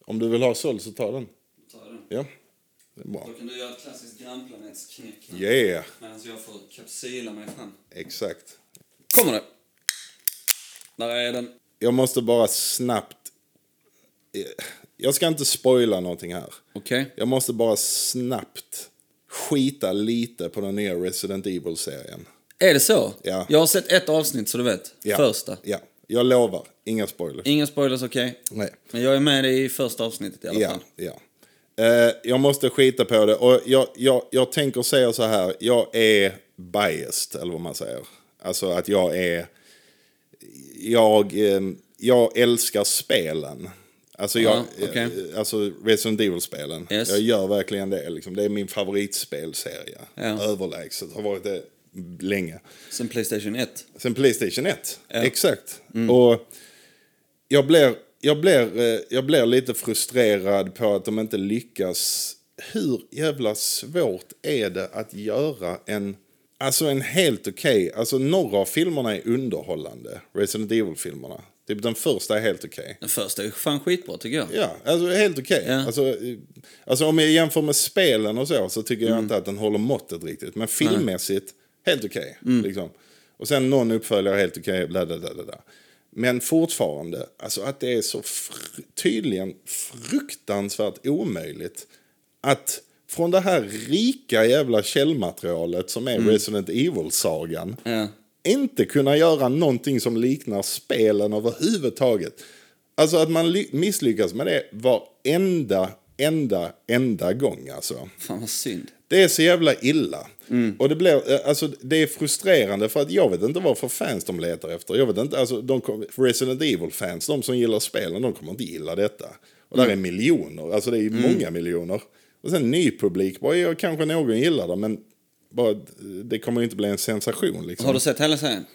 Om du vill ha sol så ta den. Tar jag den. Ja, det är bra. Då kan du göra ett klassiskt grannplanetsknäck nu, Yeah, medan jag får kapsyla mig fram. exakt. Kommer det! Där är den. Jag måste bara snabbt... Eh, Jag ska inte spoila någonting här. Okej. Jag måste bara snabbt skita lite på den nya Resident Evil-serien. Är det så? Ja. Jag har sett ett avsnitt så du vet. Ja. Första. Ja, jag lovar. Inga spoilers. Inga spoilers, okej. Nej. Men jag är med dig i första avsnittet i alla Ja, fall. ja. Eh, jag måste skita på det. Och jag, jag, jag tänker säga så här. Jag är biased, eller vad man säger. Alltså att jag är... Jag, eh, jag älskar spelen. Alltså, jag, Ja, okej. eh, alltså Resident Evil-spelen. Yes. Jag gör verkligen det. Liksom. Det är min favoritspelserie. Ja. Överlägset. Har varit det länge. Sen Playstation 1. Sen Playstation 1. Exakt. Och jag blir, jag, blir, eh, jag blir lite frustrerad på att de inte lyckas. Hur jävla svårt är det att göra en... Alltså en helt okej... alltså några av filmerna är underhållande. Resident Evil-filmerna. Typ den första är helt okej. Den första är ju fan skitbra tycker jag. Ja, alltså helt okej. Ja. Alltså, eh, alltså om jag jämför med spelen och så, så tycker jag inte att den håller måttet riktigt. Men filmmässigt, helt okej. liksom. Och sen någon uppföljare, helt okej, bla bla bla. bla, bla. Men fortfarande, alltså att det är så fr- tydligen fruktansvärt omöjligt att från det här rika jävla källmaterialet som är Resident Evil-sagan Ja. inte kunna göra någonting som liknar spelen överhuvudtaget. Alltså att man ly- misslyckas med det varenda, enda, enda gång alltså. Fan vad synd. Det är så jävla illa. Och det, blir, eh, alltså, det är frustrerande för att jag vet inte vad för fans de letar efter. Jag vet inte, alltså, de kom, Resident Evil-fans, de som gillar spelen, de kommer inte gilla detta. Och där är miljoner, alltså det är många miljoner. Och sen ny publik, bara, ja, kanske någon gillar det, men bara, det kommer ju inte bli en sensation. Liksom. Har du sett hela serien?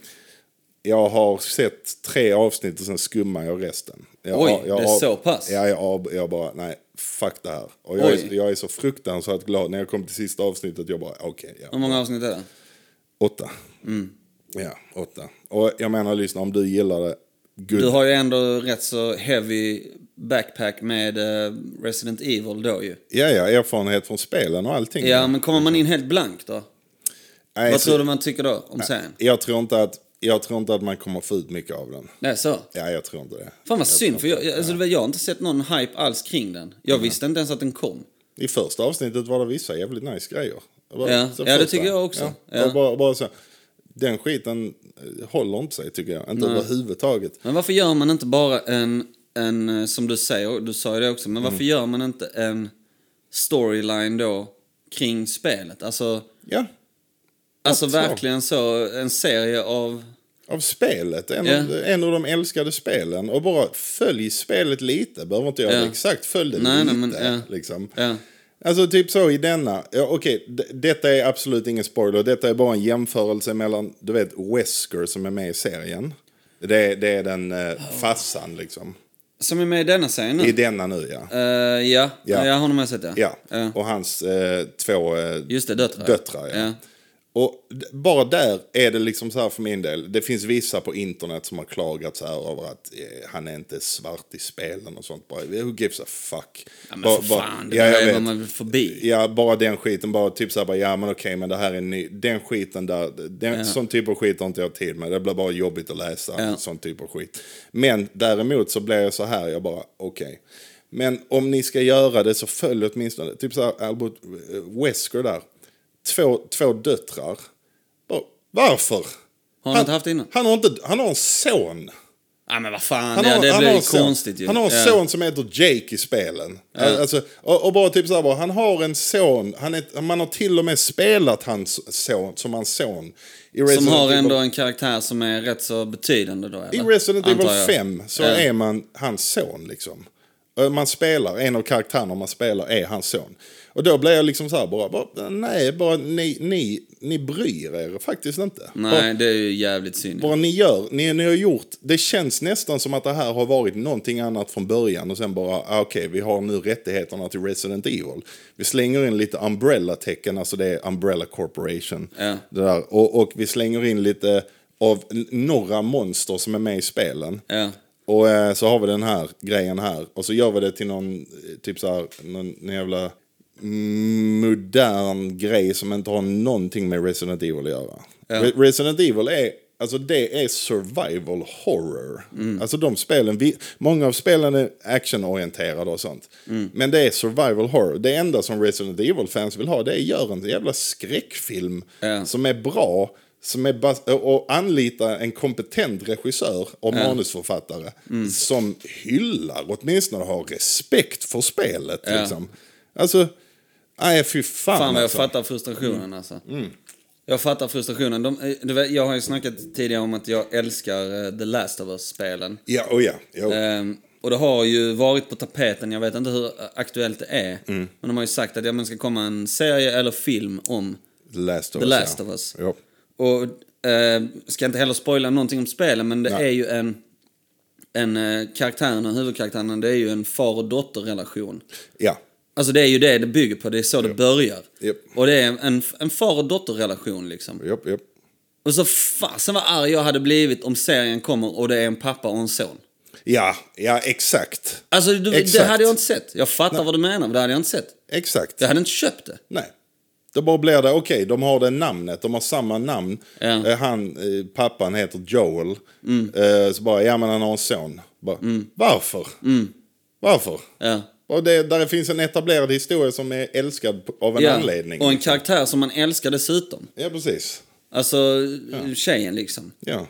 Jag har sett tre avsnitt och sen skummar jag resten. Jag, Oj, jag, det är så pass? Ja, jag, av- jag bara, nej, fuck det här. Och jag, Oj. är, jag är så fruktansvärt glad när jag kom till sista avsnittet. Jag bara, okej, Hur ja. många avsnitt är det? Åtta. Mm. Ja, åtta. Och jag menar, lyssna, om du gillar det, good. Du har ju ändå rätt så heavy backpack med eh, Resident Evil då ju. Ja, ja, erfarenhet från spelen och allting. Ja, men kommer man in helt blank då? nej, Vad så- tror du man tycker då om serien? Jag tror, inte att, jag tror inte att man kommer få ut mycket av den. Det är så? Ja, jag tror inte det. Fan vad synd, för jag, jag- alltså, du vet, jag har inte sett någon hype alls kring den. Jag visste inte ens att den kom. I första avsnittet var det vissa jävligt nice grejer. Det var- Ja, så ja, det tycker jag också. Ja. Ja. Och Bara, bara så, den skiten eh, håller inte sig tycker jag. Inte överhuvudtaget. Men varför gör man inte bara en, en eh, som du säger, och du sa ju det också, men Mm. varför gör man inte en storyline då kring spelet? Alltså, Ja, alltså tror. verkligen så, en serie av... av spelet. En, Ja. av, en av de älskade spelen. Och bara följ spelet lite. Behöver inte göra Ja. det exakt. Följ det Nej, nej, lite. men, ja. liksom. Ja. Alltså typ så i denna. Ja, Okej, d- detta är absolut ingen spoiler. Detta är bara en jämförelse mellan, du vet, Wesker som är med i serien. Det, är- det är den eh, Oh. farsan liksom. Som är med i denna serien nu? I denna nu ja. Eh, ja. ja, Ja. jag har nog med sett det. Ja, och hans eh, två eh, Just det, döttrar. döttrar. Ja. Ja. Och d- bara där är det liksom så här för min del. Det finns vissa på internet som har klagat så här över att eh, han är inte svart i spelen och sånt. Bara, who gives a fuck? Ja, men bara, för bara- fan, det ja, där jag är vet. vad man vill förbi. Ja, bara den skiten. Bara typ så här, bara, ja men okej, men det här är ny. Den skiten där, den, sån typ av skit har inte jag tid med. Det blir bara jobbigt att läsa Ja. sån typ av skit. Men däremot så blir jag så här, jag bara, okej. Men om ni ska göra det så följ åtminstone, typ så här Albert eh, Wesker där. Två, två döttrar. Bara, varför? Har han inte haft det innan? Han har, inte, han har en son. Ja, men vad fan, Han ja, det han blir ju en son. konstigt ju. Han har en ja. son som heter Jake i spelen. Alltså, och, och bara typ så här, bara, han har en son, han är, man har till och med spelat hans son som hans son. I Som Resident har Evil- ändå en karaktär som är rätt så betydande då, eller? I Resident Evil Antar jag. 5 så Ja. är man hans son liksom. Eh, Man spelar, en av karaktärerna man spelar är hans son. Och då blir jag liksom så här bara, bara nej, bara ni, ni, ni bryr er faktiskt inte. Bara, Nej, det är ju jävligt synd. bara ni gör, ni, ni har gjort, det känns nästan som att det här har varit någonting annat från början och sen bara, ah, okej, vi har nu rättigheterna till Resident Evil. Vi slänger in lite umbrella-tecken, alltså det är Umbrella Corporation. Ja. Det där. Och, och vi slänger in lite av n- några monster som är med i spelen. Ja. Och eh, så har vi den här grejen här. Och så gör vi det till någon, eh, typ så här, någon, någon jävla modern grej som inte har någonting med Resident Evil att göra. Re- Resident Evil är, alltså det är survival horror. Alltså de spelen, vi, många av spelen är actionorienterade och sånt. Men det är survival horror. Det enda som Resident Evil-fans vill ha det är gör en jävla skräckfilm Ja. som är bra. Som är bas- och anlita en kompetent regissör och manusförfattare som hyllar, åtminstone har respekt för spelet. Liksom. Alltså, nej fy fan, Fan vad jag alltså. Mm. fattar frustrationen alltså. Jag fattar frustrationen. De, eh, du vet, jag har ju snackat tidigare om att jag älskar eh, The Last of Us-spelen. Ja, oh ja. Jo. Ehm, och det har ju varit på tapeten, jag vet inte hur eh, aktuellt det är. Mm. Men de har ju sagt att ja, men det ska komma en serie eller film om The Last of The Us. Last ja. of Us. Jo. Och eh, ska inte heller spoila någonting om spelen, men det Nej. är ju en... En eh, karaktären, huvudkaraktären, det är ju en far och dotterrelation. Ja, Alltså det är ju det det bygger på, det är så det börjar. Japp. Och det är en, en far och dotterrelation liksom. japp, japp. Och så fasen vad arg jag hade blivit om serien kommer och det är en pappa och en son. Ja, ja, exakt. Alltså du, det Exakt. hade jag inte sett. Jag fattar vad du menar, men det hade jag inte sett. Exakt. Jag hade inte köpt det. Nej. Då bara blir det, okej, de har det namnet, de har samma namn. Ja. Mm. Eh, Han, eh, pappan heter Joel. Eh, Så bara, ja men han har en son. Bara, Varför? Mm. Varför? Ja. Och det, där finns en etablerad historia som är älskad på- av en Ja. anledning. liksom. Och en karaktär som man älskar dessutom. Ja, precis. Alltså tjejen liksom. Ja.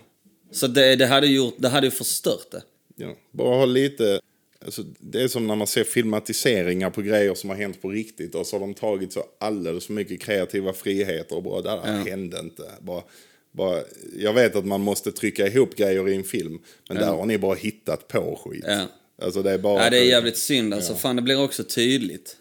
Så det, det, hade gjort, det hade ju förstört det. ja. Bara ha lite... Alltså, det är som när man ser filmatiseringar på grejer som har hänt på riktigt och så har de tagit så alldeles för mycket kreativa friheter och bara det där hände inte. Bara, bara, jag vet att man måste trycka ihop grejer i en film men där har ni bara hittat på skit. Ja. Alltså det är bara... Ja, det Mm. är jävligt synd alltså. Fan, det blir också tydligt.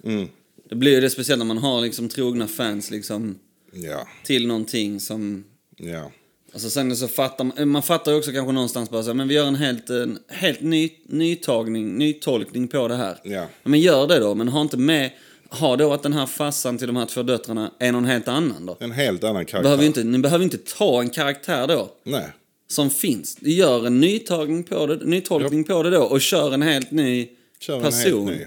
Det blir ju det speciellt när man har liksom trogna fans liksom Ja, till någonting som... ja. Alltså sen så fattar man, man fattar ju också kanske någonstans bara så här, men vi gör en helt, en helt ny, ny tagning, ny tolkning på det här. Ja. Men gör det då, men ha inte med, ha då att den här farsan till de här två döttrarna är någon helt annan då. En helt annan karaktär. Behöver ju inte, ni behöver inte ta en karaktär då. Nej. som finns. Gör en nytagning på det, nytolkning på det då och kör en helt ny Kör en person. helt ny.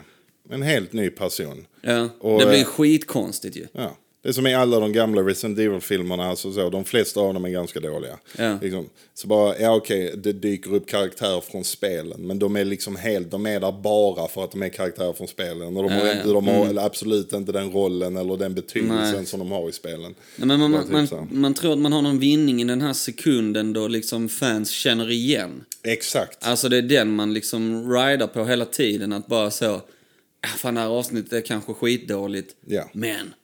En helt ny person. Ja. Och, det blir eh, skitkonstigt ju. Ja. Det är som i alla de gamla Resident Evil-filmerna, alltså så, de flesta av dem är ganska dåliga. Ja. Liksom, så bara, ja okej, det dyker upp karaktärer från spelen, men de är liksom helt, de är där bara för att de är karaktärer från spelen. Och de har, Ja, ja. De har eller absolut inte den rollen eller den betydelsen Nej. som de har i spelen. Nej, men man, Bara man, typ så man, här. man tror att man har någon vinning i den här sekunden då liksom fans känner igen. Exakt. Alltså det är den man liksom rider på hela tiden. Att bara så, "Ah, fan det här avsnittet är kanske skitdåligt. Ja. Men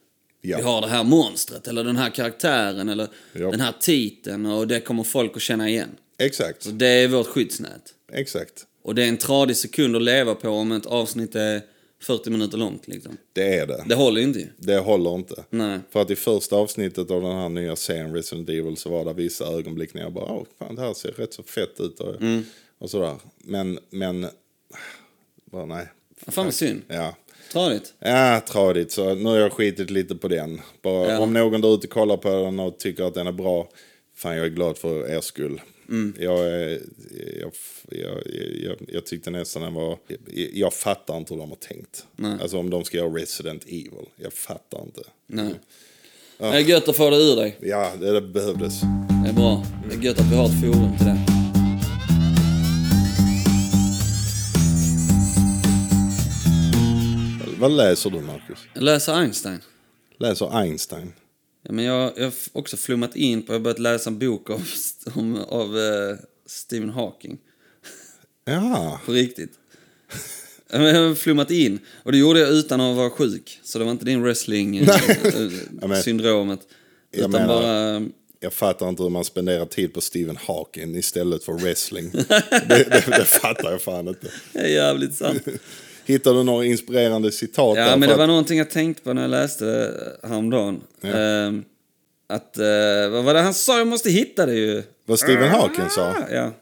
Ja. vi har det här monstret eller den här karaktären eller Ja. den här titeln och det kommer folk att känna igen. Exakt. Det är vårt skyddsnät. Exakt. Och det är en tradig sekund att leva på om ett avsnitt är 40 minuter långt. Liksom. Det är det. Det håller ju inte ju. Det håller inte. Nej. För att i första avsnittet av den här nya serien Resident Evil så var det vissa ögonblick när jag bara, åh fan det här ser rätt så fett ut och, och sådär. Men, men, bara nej. Ja, Fan vad synd. Ja. Tradigt. Ja, tradigt. Så nu har jag skitit lite på den. Bara, Ja. Om någon där ute kollar på den och tycker att den är bra, fan jag är glad för er skull. Jag, är- jag, jag, jag, jag tyckte nästan den var... Jag, jag fattar inte hur de har tänkt. Alltså om de ska göra Resident Evil. Jag fattar inte. Nej. Det är gött att få det ur dig. Ja, det, det behövdes. Det är bra. Det är gött att vi har ett forum till det. Vad läser du, Marcus? Jag läser Einstein. Läser Einstein. Ja, men jag, jag har också flummat in på, jag har börjat läsa en bok av, om, av eh, Stephen Hawking. Ja, På riktigt. Ja, men Jag har flummat in. Och det gjorde jag utan att vara sjuk. Så det var inte din Ja, men- wrestling-syndromet. Jag Utan menar- bara... eh, jag fattar inte hur man spenderar tid på Stephen Hawking istället för wrestling. det, det, det fattar jag fan inte. Det är jävligt sant. Hittar du några inspirerande citat? Ja, där? men För det var att- någonting jag tänkte på när jag läste det häromdagen. Ehm, att, eh, vad var det han sa? Jag måste hitta det ju. Vad Stephen Hawking sa? Ah, ja.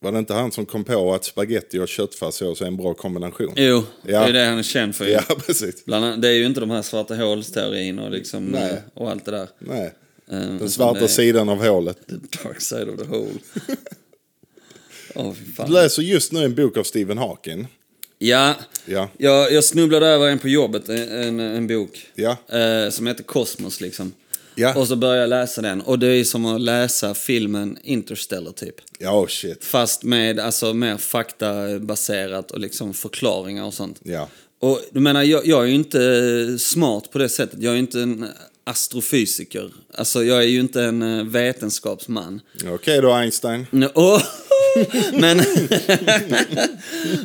Var det inte han som kom på att spaghetti och köttfärssås är en bra kombination? Jo, Ja. det är det han är känd för. ju. Ja, precis. Bland annat, det är ju inte de här svarta hålsteorin och, liksom, Nej. eh, och allt det där. Nej. Ehm, utan Den svarta det är sidan av hålet. The dark side of the hole. Åh, fy Du fan. läser just nu en bok av Stephen Hawking. Ja, Ja. Jag, jag snubblade över en på jobbet, en, en, en bok. Ja. Eh, som heter Kosmos liksom. Ja. Och så började jag läsa den. Och det är som att läsa filmen Interstellar typ. Ja, oh shit. Fast med alltså, mer faktabaserat och liksom förklaringar och sånt. Ja. Och du menar, jag, jag är ju inte eh, smart på det sättet. Jag är ju inte en astrofysiker. Alltså, jag är ju inte en eh, vetenskapsman. Okej då, Einstein. Nå- åh! Men,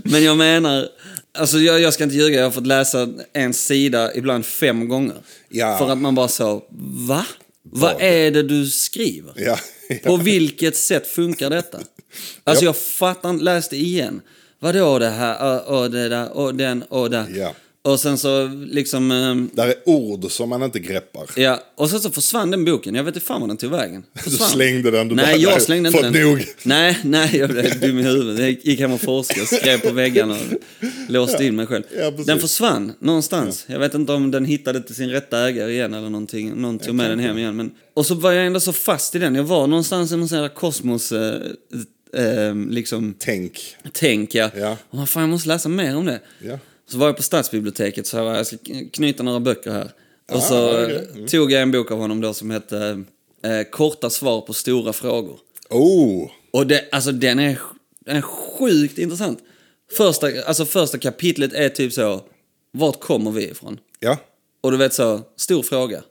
men jag menar, alltså jag, jag ska inte ljuga, jag har fått läsa en sida ibland fem gånger. Ja. För att man bara så, va? Vad är det du skriver? Ja. På vilket sätt funkar detta? Alltså jag fattar inte, läs det igen. Vadå det här, och, och det där, och den, och där. Ja. Och sen så liksom... ehm, Där är ord som man inte greppar. Ja, och sen så försvann den boken. Jag vet inte fan var den tog vägen. Du Försvann. slängde den. Du bara, Nej, jag slängde inte fått den. nog. Nej, nej, jag blev dum i huvudet. Jag gick hem och forskade, skrev på väggarna och låste in mig själv. ja, precis. den försvann någonstans. Jag vet inte om den hittade till sin rätta ägare igen eller någonting. Någon tog med den hem igen. Men... Och så var jag ändå så fast i den. Jag var någonstans i någon sån här kosmos... Eh, eh, liksom, Tänk. tänk jag. Ja. Och vad fan, jag måste läsa mer om det. Ja. Så var jag på stadsbiblioteket så jag bara, jag ska knyta några böcker här. och så okej. eh, tog jag en bok av honom då som hette eh, Korta svar på stora frågor. Oh, Och det, alltså den är, den är sjukt intressant. Första, alltså första kapitlet är typ så, vart kommer vi ifrån? ja. Och du vet så, stor fråga.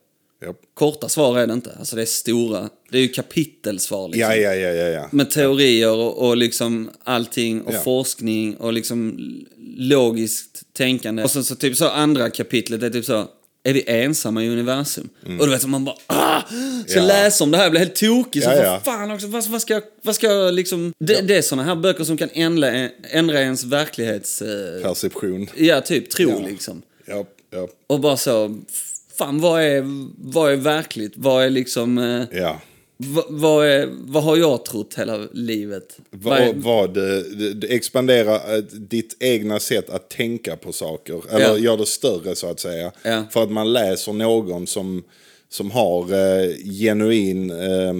Ja, Korta svar är det inte, alltså det är stora, det är ju kapitelsvar liksom ja, ja, ja, ja. ja. med teorier och, och liksom allting och Ja. forskning och liksom l- logiskt tänkande. Och sen så typ så andra kapitlet är typ så, är vi ensamma i universum? Och du vet så man bara, ah! Ska Mm. Ja. läsa om det här, jag blir helt tokig. Så Ja, vad ja. fan också, vad, vad, ska jag, vad ska jag liksom... Det, det är såna här böcker som kan ändra, ändra ens verklighets... Eh, Perception. ja, typ tro Ja. liksom. Ja, ja, Och bara så, fan vad är, vad är verkligt? Vad är liksom... Eh, ja. vad, vad, är, vad har jag trott hela livet? Vad är- Vad, vad, eh, d- d- expandera eh, ditt egna sätt att tänka på saker. Eller Ja. gör det större så att säga. Ja. För att man läser någon som, som har eh, genuin... Eh,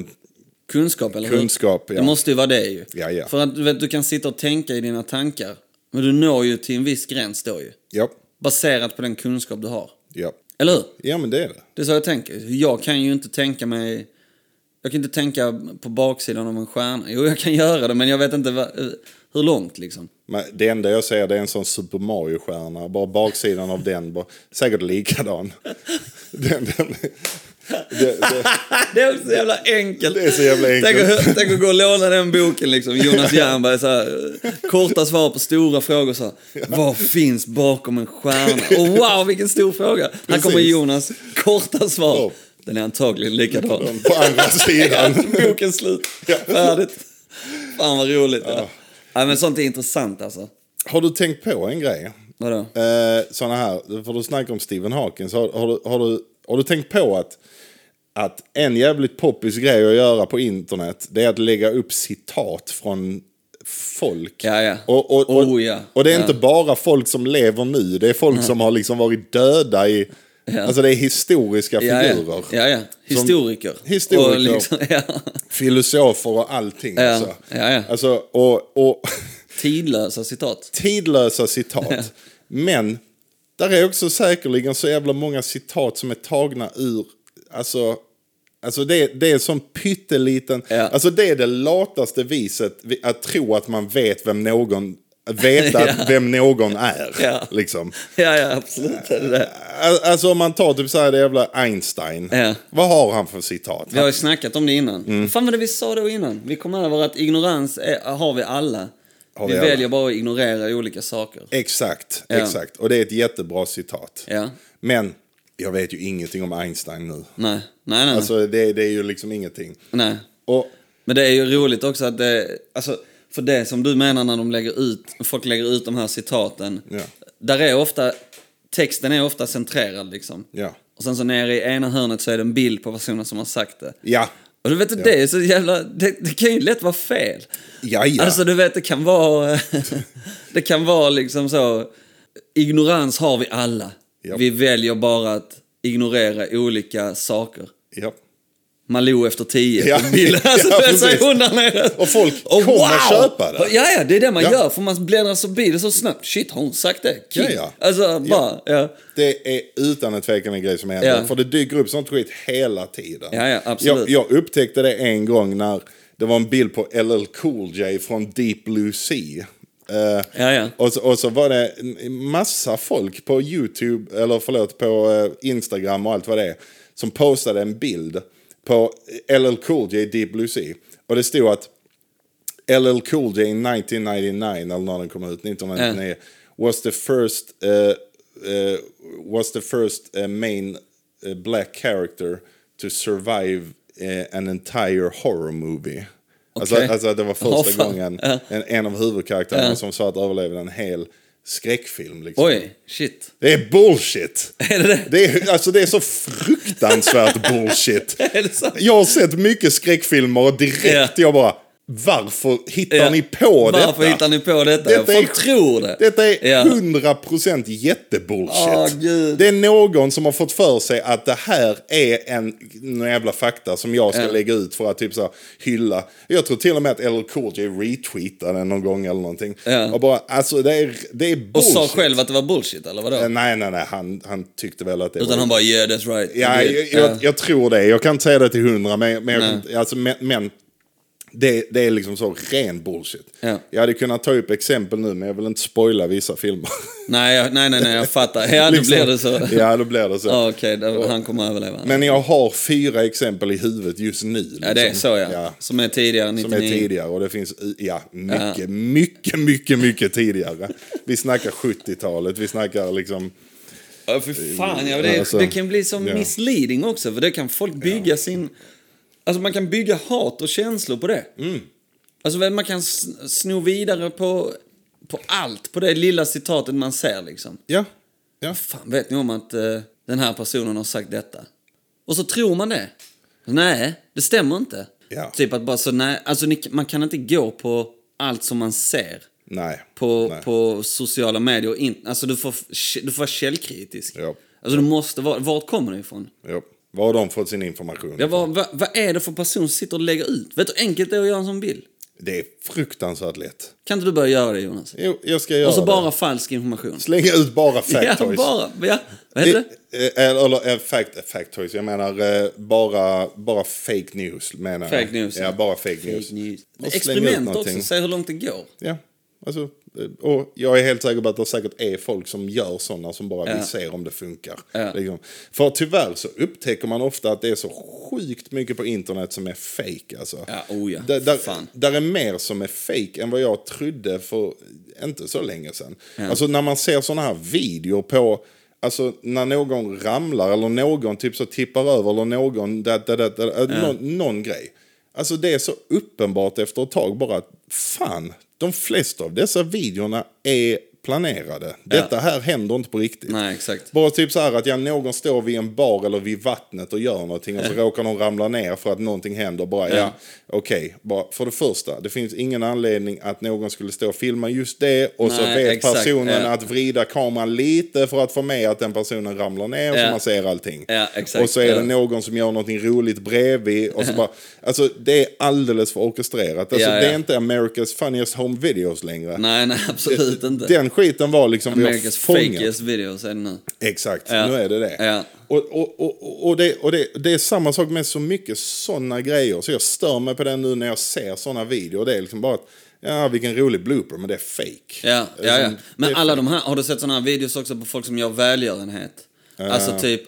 Kunskap, eller Kunskap, hur? ja. Det måste ju vara det ju. Ja, ja. För att du, vet, du kan sitta och tänka i dina tankar, men du når ju till en viss gräns då ju. ja, Baserat på den kunskap du har. ja. Eller hur? Ja, men det är det. Det är så jag tänker. Jag kan ju inte tänka mig... Jag kan inte tänka på baksidan av en stjärna. Jo, jag kan göra det, men jag vet inte vad, hur långt liksom. Men det enda jag ser det är en sån Super Mario-stjärna. Bara baksidan av den. Bara, säkert likadan. Den, den, det, det, Det är så jävla enkelt. Det är så jävla enkelt. Tänk att, tänk att gå och låna den boken liksom. Jonas Jernberg så här, eh, korta svar på stora frågor så här. Vad finns bakom en stjärna? Och wow, vilken stor fråga. Här Precis. kommer Jonas, korta svar. Ja. Den är antagligen likadan. på andra sidan. Boken slut, färdigt. Fan vad roligt. Ja. Ja, men sånt är intressant alltså. Har du tänkt på en grej? Vadå? Eh, såna här, för du snackar om Stephen Hawking. Så har, har, du, har, du, har du tänkt på att, att en jävligt poppis grej att göra på internet det är att lägga upp citat från folk. Ja, ja. Och, och, och, Oh, ja. och det är Ja. inte bara folk som lever nu, det är folk som har liksom varit döda i... Alltså det är historiska Ja, ja. figurer. ja, ja. Historiker. Historiker. Och liksom, ja. Filosofer och allting. Ja, Alltså. ja, ja. Alltså, och, och, Tidlösa citat. tidlösa citat. Men där är också säkerligen så jävla många citat som är tagna ur, alltså, alltså det, det är som pytteliten, Ja. alltså det är det lataste viset vi- att tro att man vet vem någon, att veta Ja. vem någon är. Ja. Liksom. Ja, ja, absolut. Det är det. Al- Alltså om man tar typ så här det jävla Einstein, Ja. vad har han för citat? Vi har ju snackat om det innan. Mm. Fan vad det vi sa då innan. Vi kom över att ignorans är, har vi alla. Har vi vi alla. väljer bara att ignorera olika saker. Exakt, Ja. exakt. Och det är ett jättebra citat. Ja. Men jag vet ju ingenting om Einstein nu. Nej, nej, nej. Alltså det, det är ju liksom ingenting. nej. Och, Men det är ju roligt också att det, alltså, för det som du menar när de lägger ut, folk lägger ut de här citaten. Ja. Där är ofta, texten är ofta centrerad liksom. ja. Och sen så nere i ena hörnet så är det en bild på personen som har sagt det. Ja. Och du vet, det är så jävla, det, det kan ju lätt vara fel. Ja, ja. Alltså du vet, det kan vara... det kan vara liksom så... Ignorans har vi alla. Ja. Vi väljer bara att ignorera olika saker. ja. Malou efter tio. Ja. Ja. Alltså, Ja, ja, det är precis. så hon där nere. Och folk kommer köpa det. Ja, ja, det är det man Ja. gör. För man bläddrar så blir det så snabbt. Shit, har hon sagt det? Kul. Ja, ja. Alltså, bara... Ja. Det är utan en tvekan en grej som händer. Ja. För det dyker upp sånt skit hela tiden. Ja, ja, Jag, absolut. jag upptäckte det en gång när det var en bild på LL Cool J från Deep Blue Sea. Eh, Ja, ja. Och, så, och så var det en massa folk på YouTube, eller förlåt, på eh, Instagram och allt vad det är, som postade en bild på LL Cool J Deep Blue Sea. Och det stod att LL Cool J 1999, eller när den kom ut, 1999, was the first, eh, eh, was the first eh, main eh, black character to survive eh, an entire horror movie. Alltså, Okej. alltså det var första Åh, fan. gången Ja. en, en av huvudkaraktärerna som sa att överlevde en hel skräckfilm. Liksom. Oj, shit. Det är bullshit! Är det det? Det är, alltså, det är så fruktansvärt bullshit. Är det sant? Jag har sett mycket skräckfilmer och direkt Ja. jag bara, varför hittar Ja. ni på detta? Varför hittar ni på detta? Detta Folk är- tror det. Detta är Ja. 100% jättebullshit. Åh, Gud. det är någon som har fått för sig att det här är en, en jävla fakta som jag ska Ja. lägga ut för att typ så här, hylla. Jag tror till och med att LL Cool J retweetade den någon gång eller någonting. Ja. Och bara, alltså det är, det är Och bullshit. sa själv att det var bullshit, eller vadå? Nej, nej, nej, han, han tyckte väl att det var... Utan han bara, yeah that's right. Ja, jag, jag, jag tror det. Jag kan inte säga det till hundra, men, men, jag kan, alltså, men, men det, det är liksom så ren bullshit. Ja. Jag hade kunnat ta upp exempel nu, men jag vill inte spoila vissa filmer. Nej, jag, nej, nej, nej, jag fattar. Ja, då Liksom. blir det så. Ja, då blir det så. Ja, Okej, då- han kommer att överleva. Men jag har fyra exempel i huvudet just nu. ja, det är liksom. så ja. Som är tidigare, Som är 99. tidigare och det finns i- ja, mycket, mycket, mycket, mycket tidigare. Vi snackar 70-talet, vi snackar liksom... Ja, för fan, ja, det, Alltså, det kan bli så ja. misleading också, för det kan folk bygga sin... Alltså man kan bygga hat och känslor på det. Mm. Alltså man kan s- sno vidare på, på allt, på det lilla citatet man ser liksom. Ja, ja. Fan, vet ni om att eh, den här personen har sagt detta? Och så tror man det. Nej, det stämmer inte. Ja. Typ att bara så, nej, alltså ni, man kan inte gå på allt som man ser Nej. på, nej. på sociala medier. och In, alltså du får, du får vara källkritisk. Ja. Alltså du måste vara, vart kommer det ifrån? Ja. Var har de fått sin information? Ja, vad, vad, vad är det för person som sitter och lägger ut? Vet du hur enkelt det är att göra en sån bild? Det är fruktansvärt lätt. Kan inte du börja göra det Jonas? Jo, jag ska göra och så det. bara falsk information. Slänga ut bara fact ja, toys. bara. Ja, vad heter det? Eh, Eller, eller eh, fact, fact toys, jag menar eh, bara, bara fake news. Menar jag. Fake news, Ja, ja. bara fake, news. Och slänga ut Experiment någonting. också, se hur långt det går. Ja, alltså, eh, och jag är helt säker på att det säkert är folk som gör sådana som bara vill se om det funkar. Ja. Liksom. För tyvärr så upptäcker man ofta att det är så sjukt mycket på internet som är fake. Alltså. Ja, oh ja. Där, där, Fan. där är mer som är fake än vad jag trodde för inte så länge sedan. Alltså när man ser sådana här videor på Alltså när någon ramlar eller någon typ så tippar över eller någon, da, da, da, da, någon, någon grej. Alltså det är så uppenbart efter ett tag bara att fan, de flesta av dessa videorna är planerade. Detta här händer inte på riktigt. Nej, exakt. Bara typ så här att ja, någon står vid en bar eller vid vattnet och gör någonting och så råkar någon ramla ner för att någonting händer. Bara, ja. Ja. Okej, bara för det första, det finns ingen anledning att någon skulle stå och filma just det och så Nej, vet exakt, personen ja. att vrida kameran lite för att få med att den personen ramlar ner så Ja. man ser allting. Ja, exakt, och så är ja. det någon som gör någonting roligt bredvid och så bara, alltså det är alldeles för orkestrerat. Alltså, Ja, ja. Det är inte America's funniest home videos längre. Nej, nej, absolut inte. Den skiten var liksom vi har Amerikas fångat. fakest videos är det nu. Exakt, Ja. nu är det det. Ja. Och, och, och, och, det, och det, det är samma sak med så mycket sådana grejer. Så jag stör mig på det nu när jag ser sådana videor. Det är liksom bara att, ja vilken rolig blooper, men det är fake. Ja, ja, ja. Liksom, det Men är alla fake. de här, har du sett sådana här videos också på folk som gör välgörenhet? Alltså typ,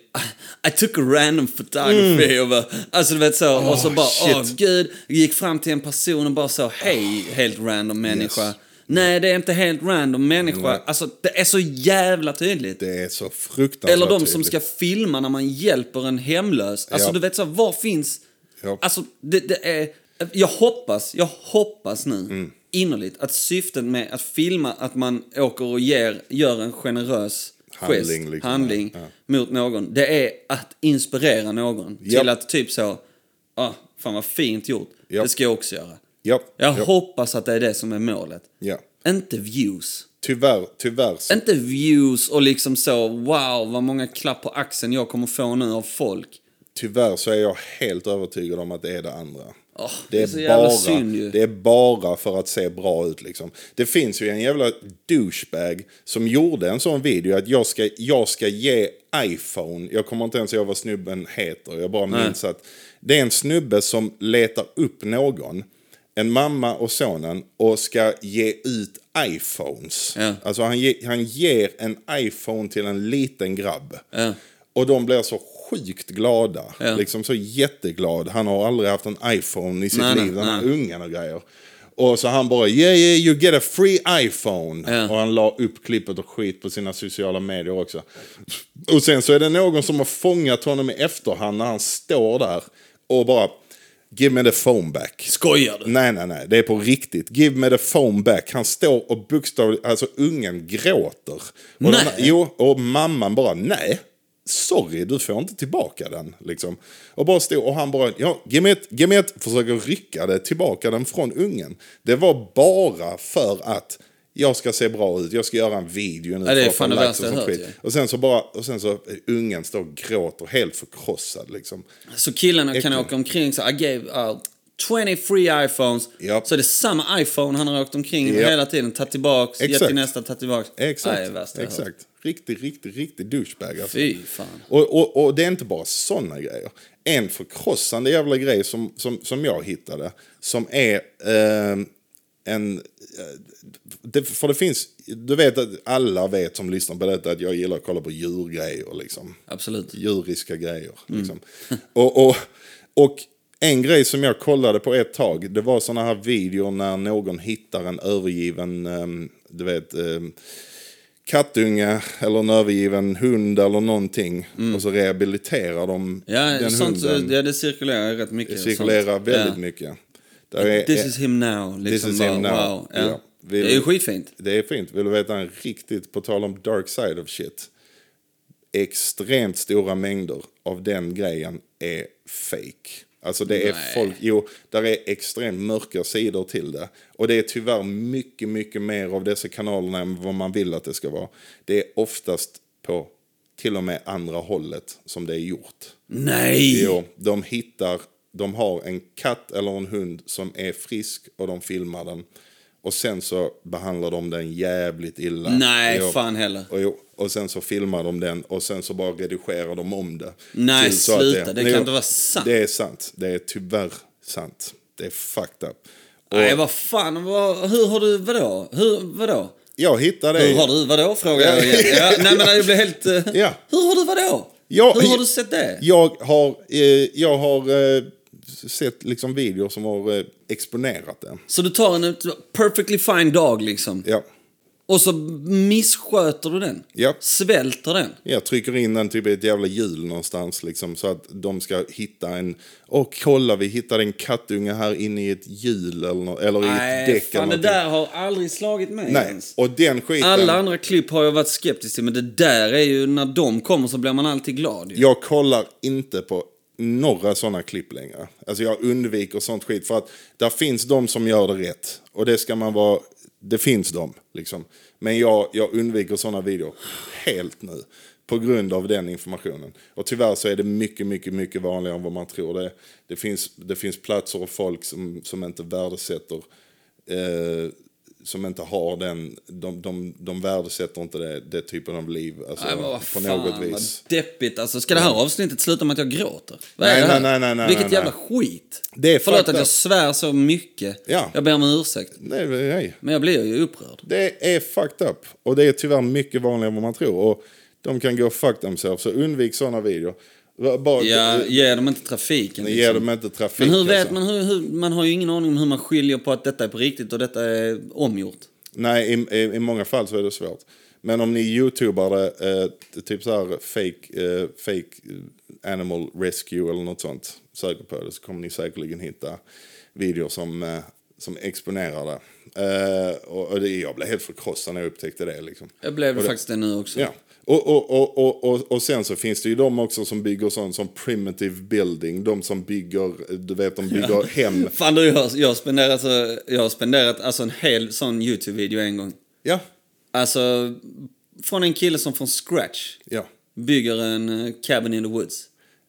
I took a random photography och bara, alltså du vet så, och så bara, Mm. Oh, shit. åh gud, gick fram till en person och bara så, hej, helt random människa. Yes. Nej, det är inte helt random människa. Alltså det är så jävla tydligt. Det är så fruktansvärt Eller de som tydligt. ska filma när man hjälper en hemlös. Alltså typ. Ja. du vet så, här, var finns... Ja. Alltså det, det är... Jag hoppas, jag hoppas nu Mm. innerligt att syftet med att filma att man åker och ger, gör en generös Handling, gest, liksom, handling ja, mot någon, det är att inspirera någon Japp. till att typ så, ah, fan vad fint gjort, Japp. det ska jag också göra. Ja, Jag ja, hoppas att det är det som är målet. ja. Inte views. Tyvärr, tyvärr så. Inte views och liksom så, wow vad många klapp på axeln jag kommer få nu av folk. Tyvärr så är jag helt övertygad om att det är det andra. det är så jävla synd ju. det är bara för att se bra ut liksom. Det finns ju en jävla douchebag som gjorde en sån video att jag ska, jag ska ge iPhone, jag kommer inte ens ihåg vad snubben heter, jag bara minns att det är en snubbe som letar upp någon, en mamma och sonen, och ska ge ut iPhones. Ja. Alltså han, ge, han ger en iPhone till en liten grabb. Och de blir så sjukt glada. Ja. Liksom så jätteglad. Han har aldrig haft en iPhone i sitt Nej, nej, liv, den här nej. ungen och grejer. Och så han bara, yeah, yeah, you get a free iPhone. Ja. Och han la upp klippet och skit på sina sociala medier också. Och sen så är det någon som har fångat honom i efterhand när han står där och bara, Give me the phone back. Skojar du? Nej, nej, nej. Det är på riktigt. Give me the phone back. Han står och bokstavligt, alltså ungen gråter. Och den, Nej. jo, och mamman bara, nej. Sorry, du får inte tillbaka den. Liksom. Och bara stod och han bara, ja, ge mig ett, ge mig ett. Försöker rycka det, tillbaka den från ungen. Det var bara för att jag ska se bra ut, jag ska göra en video nu. Ja, det är för att fan ha det likes värsta och jag sånt hört, skit. Och sen så bara, och sen så, eh, ungen står och gråter helt förkrossad liksom. Så killarna kan åka omkring så I gave out 20 free iPhones. Japp. Så det är samma iPhone han har åkt omkring Japp. hela tiden, tagit tillbaks, gett Exakt. till nästa, tagit tillbaks. Exakt. Nej, det är värsta jag hört. Exakt. Riktig, riktig, riktig douchebag. Alltså. Fy fan. Och, och, och det är inte bara sådana grejer. En förkrossande jävla grej som, som, som jag hittade, som är eh, en... Eh, det, för det finns, du vet att alla vet som lyssnar på detta att jag gillar att kolla på djurgrejer liksom Absolut. djuriska grejer. Mm. Liksom. och, och, och en grej som jag kollade på ett tag, det var sådana här videor när någon hittar en övergiven, ehm, du vet, um, kattunge eller en övergiven hund eller någonting. Och så rehabiliterar de Mm. Ja, den sånt, hunden. ja, det cirkulerar rätt mycket. det cirkulerar sånt. väldigt Ja. mycket. Där är, This is him now. Liksom is bara, him now. Wow. Ja. Ja. Vill- Det är ju skitfint. det är fint. Vill du veta en riktigt, på tal om dark side of shit. Extremt stora mängder av den grejen är fake. Alltså det är Nej. folk, jo, där är extremt mörka sidor till det. Och det är tyvärr mycket, mycket mer av dessa kanalerna än vad man vill att det ska vara. Det är oftast på till och med andra hållet som det är gjort. Nej! Jo, de hittar, de har en katt eller en hund som är frisk och de filmar den. Och sen så behandlar de den jävligt illa. Nej, Jo. fan heller. Och, jo, och sen så filmar de den och sen så bara redigerar de om det. Nej, Till så att sluta. Det kan Jo, inte vara sant. Det är sant. Det är tyvärr sant. Det är fucked up. Och Nej, vad fan. Vad, hur har du, vadå? Hur, vadå? jag hittade... Hur har du, vadå? Frågar jag igen. Ja, nej, men jag blir helt... eh, Eh, Ja. Hur har du, vadå? Ja, hur har ja. du sett det? Jag har, eh, jag har eh, sett liksom videor som har eh, exponerat den. Så du tar en ut- perfectly fine dag liksom. Ja. Och så missköter du den. Ja. Svälter den. Jag trycker in den typ i ett jävla hjul någonstans liksom, så att de ska hitta en... Och kolla, vi hittade en kattunge här inne i ett hjul eller, nå- eller i ett Nej, däck fan eller det någonting. där har aldrig slagit mig Nej, ens. och den skiten... Alla andra klipp har jag varit skeptisk till, men det där är ju, när de kommer så blir man alltid glad. ju. Jag kollar inte på några sådana klipp längre. Alltså jag undviker sånt skit för att där finns de som gör det rätt. Och det ska man vara... Det finns de, liksom. Men jag, jag undviker sådana videor helt nu. På grund av den informationen. Och tyvärr så är det mycket, mycket, mycket vanligare än vad man tror det är. Det finns, det finns platser och folk som, som inte värdesätter eh, som inte har den, de, de, de värdesätter inte det, det typen av liv. Alltså, Nej, men vad på fan, något vis. vad deppigt. Alltså, ska det här avsnittet sluta med att jag gråter? Vad Nej, är det här? nej, nej, nej, nej, Vilket nej. jävla skit. Det är Förlåt fucked att jag up. svär så mycket. Ja. Jag ber om ursäkt. Nej, nej. Men jag blir ju upprörd. Det är fucked up. Och det är tyvärr mycket vanligare än vad man tror. Och de kan gå fuck themselves. Så undvik sådana videor. Bara, Ja, ge dem inte trafiken. ge liksom. dem inte trafik. Men hur vet alltså. man? Hur, hur, man har ju ingen aning om hur man skiljer på att detta är på riktigt och detta är omgjort. Nej, i, i, i många fall så är det svårt. Men om ni youtubare, eh, typ så här fake, eh, fake animal rescue eller något sånt, söker på det så kommer ni säkerligen hitta videor som, eh, som exponerar det. Eh, och, och det. Jag blev helt förkrossad när jag upptäckte det. Liksom. Jag blev Och det- faktiskt det nu också. Ja. Och, och, och, och, och, och sen så finns det ju de också som bygger sånt som primitive building. De som bygger, du vet, de bygger hem. Fan du, jag, jag, har spenderat, så- jag har spenderat alltså en hel sån YouTube-video en gång. Ja, Alltså, från en kille som från scratch ja. bygger en eh, cabin in the woods.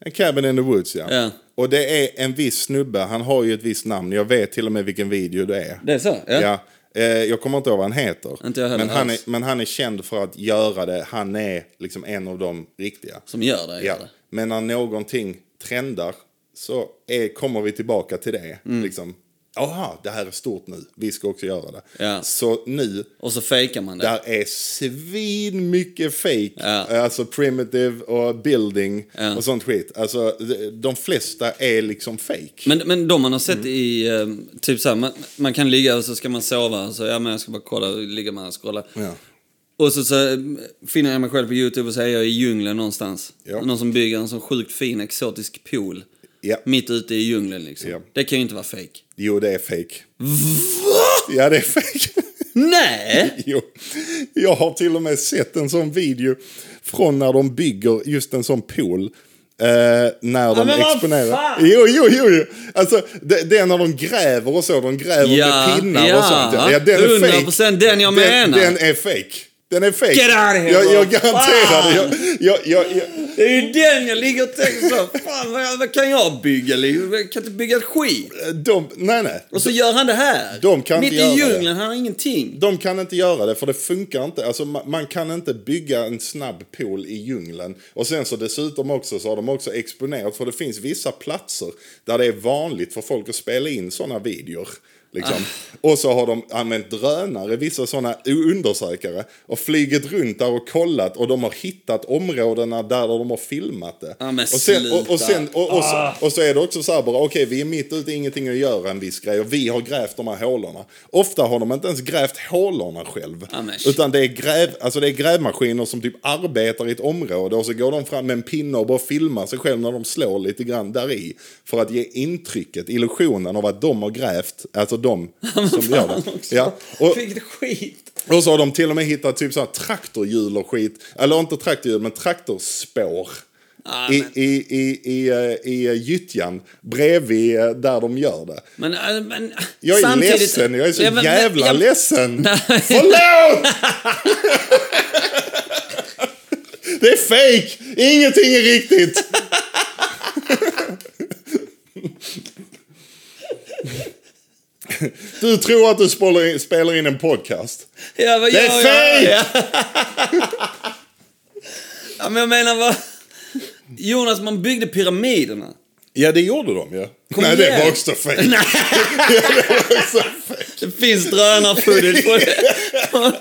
En cabin in the woods, ja. Ja. Och det är en viss snubbe, han har ju ett visst namn. Jag vet till och med vilken video det är. Det är så? Ja. Ja. Eh, Jag kommer inte ihåg vad han heter. Inte jag heller men, han är, alls. men han är känd för att göra det. Han är liksom en av de riktiga. Som gör det? Ja. gör det. Men när någonting trendar så är, kommer vi tillbaka till det. Mm. Liksom, aha, det här är stort nu. Vi ska också göra det. Ja. Så nu, Och så fejkar man det. där är svin mycket fake. Ja. Alltså primitive och building Ja. och sånt skit. Alltså de- de flesta är liksom fake. Men, men de man har Mm. sett i, eh, typ så här, man, man kan ligga och så ska man sova. Så ja, men jag ska bara kolla, ligger man och scrollar. Ja. Och så, så eh, finner jag mig själv på YouTube och så är jag i djungeln någonstans. Ja. Någon som bygger en sån sjukt fin exotisk pool. Ja. Mitt ute i djungeln liksom. Ja. Det kan ju inte vara fake. Jo, det är fake. Ja, det är fake. Nej! Jo, jag har till och med sett en sån video från när de bygger just en sån pool. Eh, när de men vad exponerar. fan! Jo, jo, jo, jo. Alltså, det, det är när de gräver och så. De gräver Ja, med pinnar ja. och sånt. Ja, den är 100% fake. den jag menar. Den, den är fake. Den är fake. Get out of here, jag, jag bro. garanterar det. Jag, Fan! jag, jag, jag, Det är ju den jag ligger och tänker så. Fan, vad, vad kan jag bygga? liksom? Jag kan inte bygga ett skit. de, nej, nej. Och så gör han det här. de kan Mitt inte i göra det. djungeln, han har ingenting. De kan inte göra det, för det funkar inte. Alltså, man, man kan inte bygga en snabb pool i djungeln. Och sen så dessutom också så har de också exponerat, för det finns vissa platser där det är vanligt för folk att spela in sådana videor. Liksom. Ah. Och så har de använt drönare, vissa sådana undersökare, och flugit runt där och kollat och de har hittat områdena där de har filmat det. Ja, men och, sen, och, och, sluta. sen, och, och, så, och så är det också så här bara, okej vi är mitt ute, ingenting att göra en viss grej och vi har grävt de här hålorna. Ofta har de inte ens grävt hålorna själv. Ja, men shit. utan det är, gräv, alltså det är grävmaskiner som typ arbetar i ett område och så går de fram med en pinne och bara filmar sig själv när de slår lite grann där i För att ge intrycket, illusionen av att de har grävt, alltså de som gör det. Ja. Och, Fick det skit. och så har de till och med hittat typ så här traktorhjul och skit. Eller inte traktorhjul, men traktorspår. Ah, I, men- i, i, i, eh, I eh, gyttjan, bredvid eh, där de gör det. Men, äh, men Jag är samtidigt- ledsen, jag är så Ja, men- jävla jag- ledsen. Nej. Förlåt! det är fake! Ingenting är riktigt! du tror att du spelar in, spelar in en podcast. Ja, vad Det är gör fake! jag? Ja. ja, men jag menar vad... Jonas, man byggde pyramiderna. Ja, det gjorde de ju. Kom Nej, det igen. var också fake. det var också fake. Det finns drönarfootage från,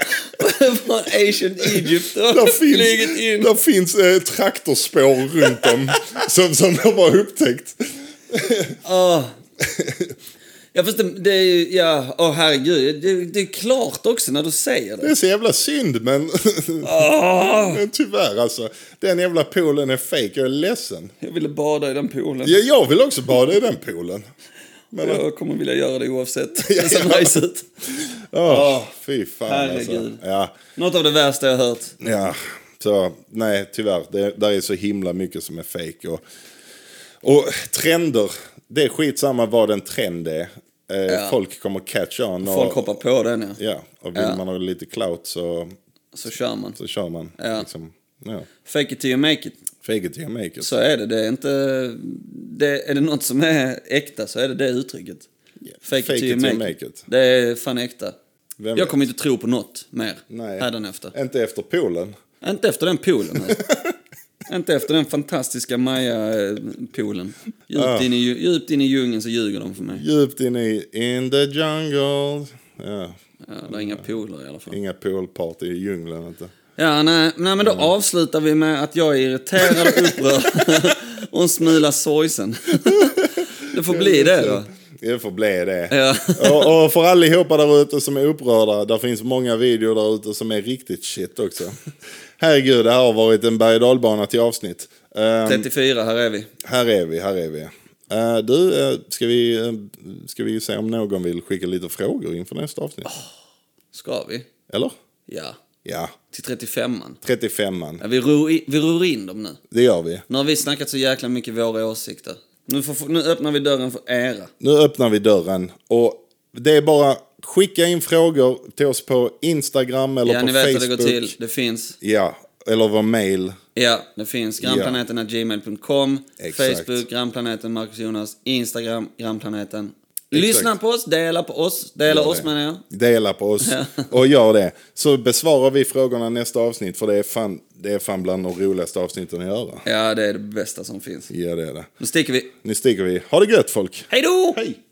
från Asian Egypt. Där Och flugit finns, in. där finns eh, traktorspår runt om som, som de har upptäckt. Ja. Ja, fast det, det är ju... Ja, åh herregud. Det, det är klart också när du säger Det det. Ah, är så jävla synd, men, Åh, men tyvärr alltså. Den jävla poolen är fake, jag är ledsen. jag ville bada i den poolen. Ja, jag vill också bada i den poolen. Men, ja, Jag kommer vilja göra det oavsett. Ja, Det ser ja. nice ut. åh, Ah, fy fan Herregud. alltså. Ja, Något av det värsta jag hört. ja. Så, nej, tyvärr. Det, där är så himla mycket som är fake. Och, och trender, det är skitsamma vad en trend är. Eh, Folk kommer catch on. Och, Folk hoppar på den, ja. Ja, och vill man ha lite clout så, Så kör man. så kör man. Ja. Liksom, ja. Fake it till you make it. Fake it till you make it. Så är det. Det är inte... Det, är det något som är äkta så är det det uttrycket. Fake, it till you make, it. Det är fan äkta. Vem jag vet? kommer inte tro på något mer Nej. hädanefter. Inte efter poolen. Inte efter den poolen. alltså. inte efter den fantastiska Maja-poolen. Djupt, in i, dju- djupt in i djungeln så ljuger de för mig. Djupt in i in the jungle. Ja, Ja, det är inga pooler i alla fall. inga poolparty i djungeln. Inte. Ja, nej, nej, men då Mm. avslutar vi med att jag är irriterad och upprörd. och en smula sorgsen. det får bli det då. Det får bli det. Ja. Och, och för allihopa där ute som är upprörda, där finns många videor där ute som är riktigt shit också. Herregud, det här har varit en berg och dalbana till avsnitt. Ehm, 34, här är vi. Här är vi, här är vi. Eh, du, eh, ska vi, eh, ska vi se om någon vill skicka lite frågor inför nästa avsnitt? Oh. Ska vi? Eller? Ja. Ja, Till 35an. 35an. Ja, vi, ror i, vi ror in dem nu. Det gör vi. Nu har vi snackat så jäkla mycket våra åsikter. Nu, får, nu öppnar vi dörren för era. Nu öppnar vi dörren. Och det är bara skicka in frågor till oss på Instagram eller Ja, på ni vet hur Facebook. det går till. Det finns. Ja, eller vår mail. Ja, det finns. Grannplaneten.gmail.com. Exakt. Facebook, Grannplaneten, Marcus Jonas. Instagram, Grannplaneten. Lyssna på oss, dela på oss. Dela Gör oss det. menar jag. Dela på oss och gör det. Så besvarar vi frågorna nästa avsnitt för det är fan, det är fan bland de roligaste avsnitten att göra. Ja, det är det bästa som finns. Ja, det är det. Nu sticker vi. Nu sticker vi. Ha det gött folk! Hej då! Hej!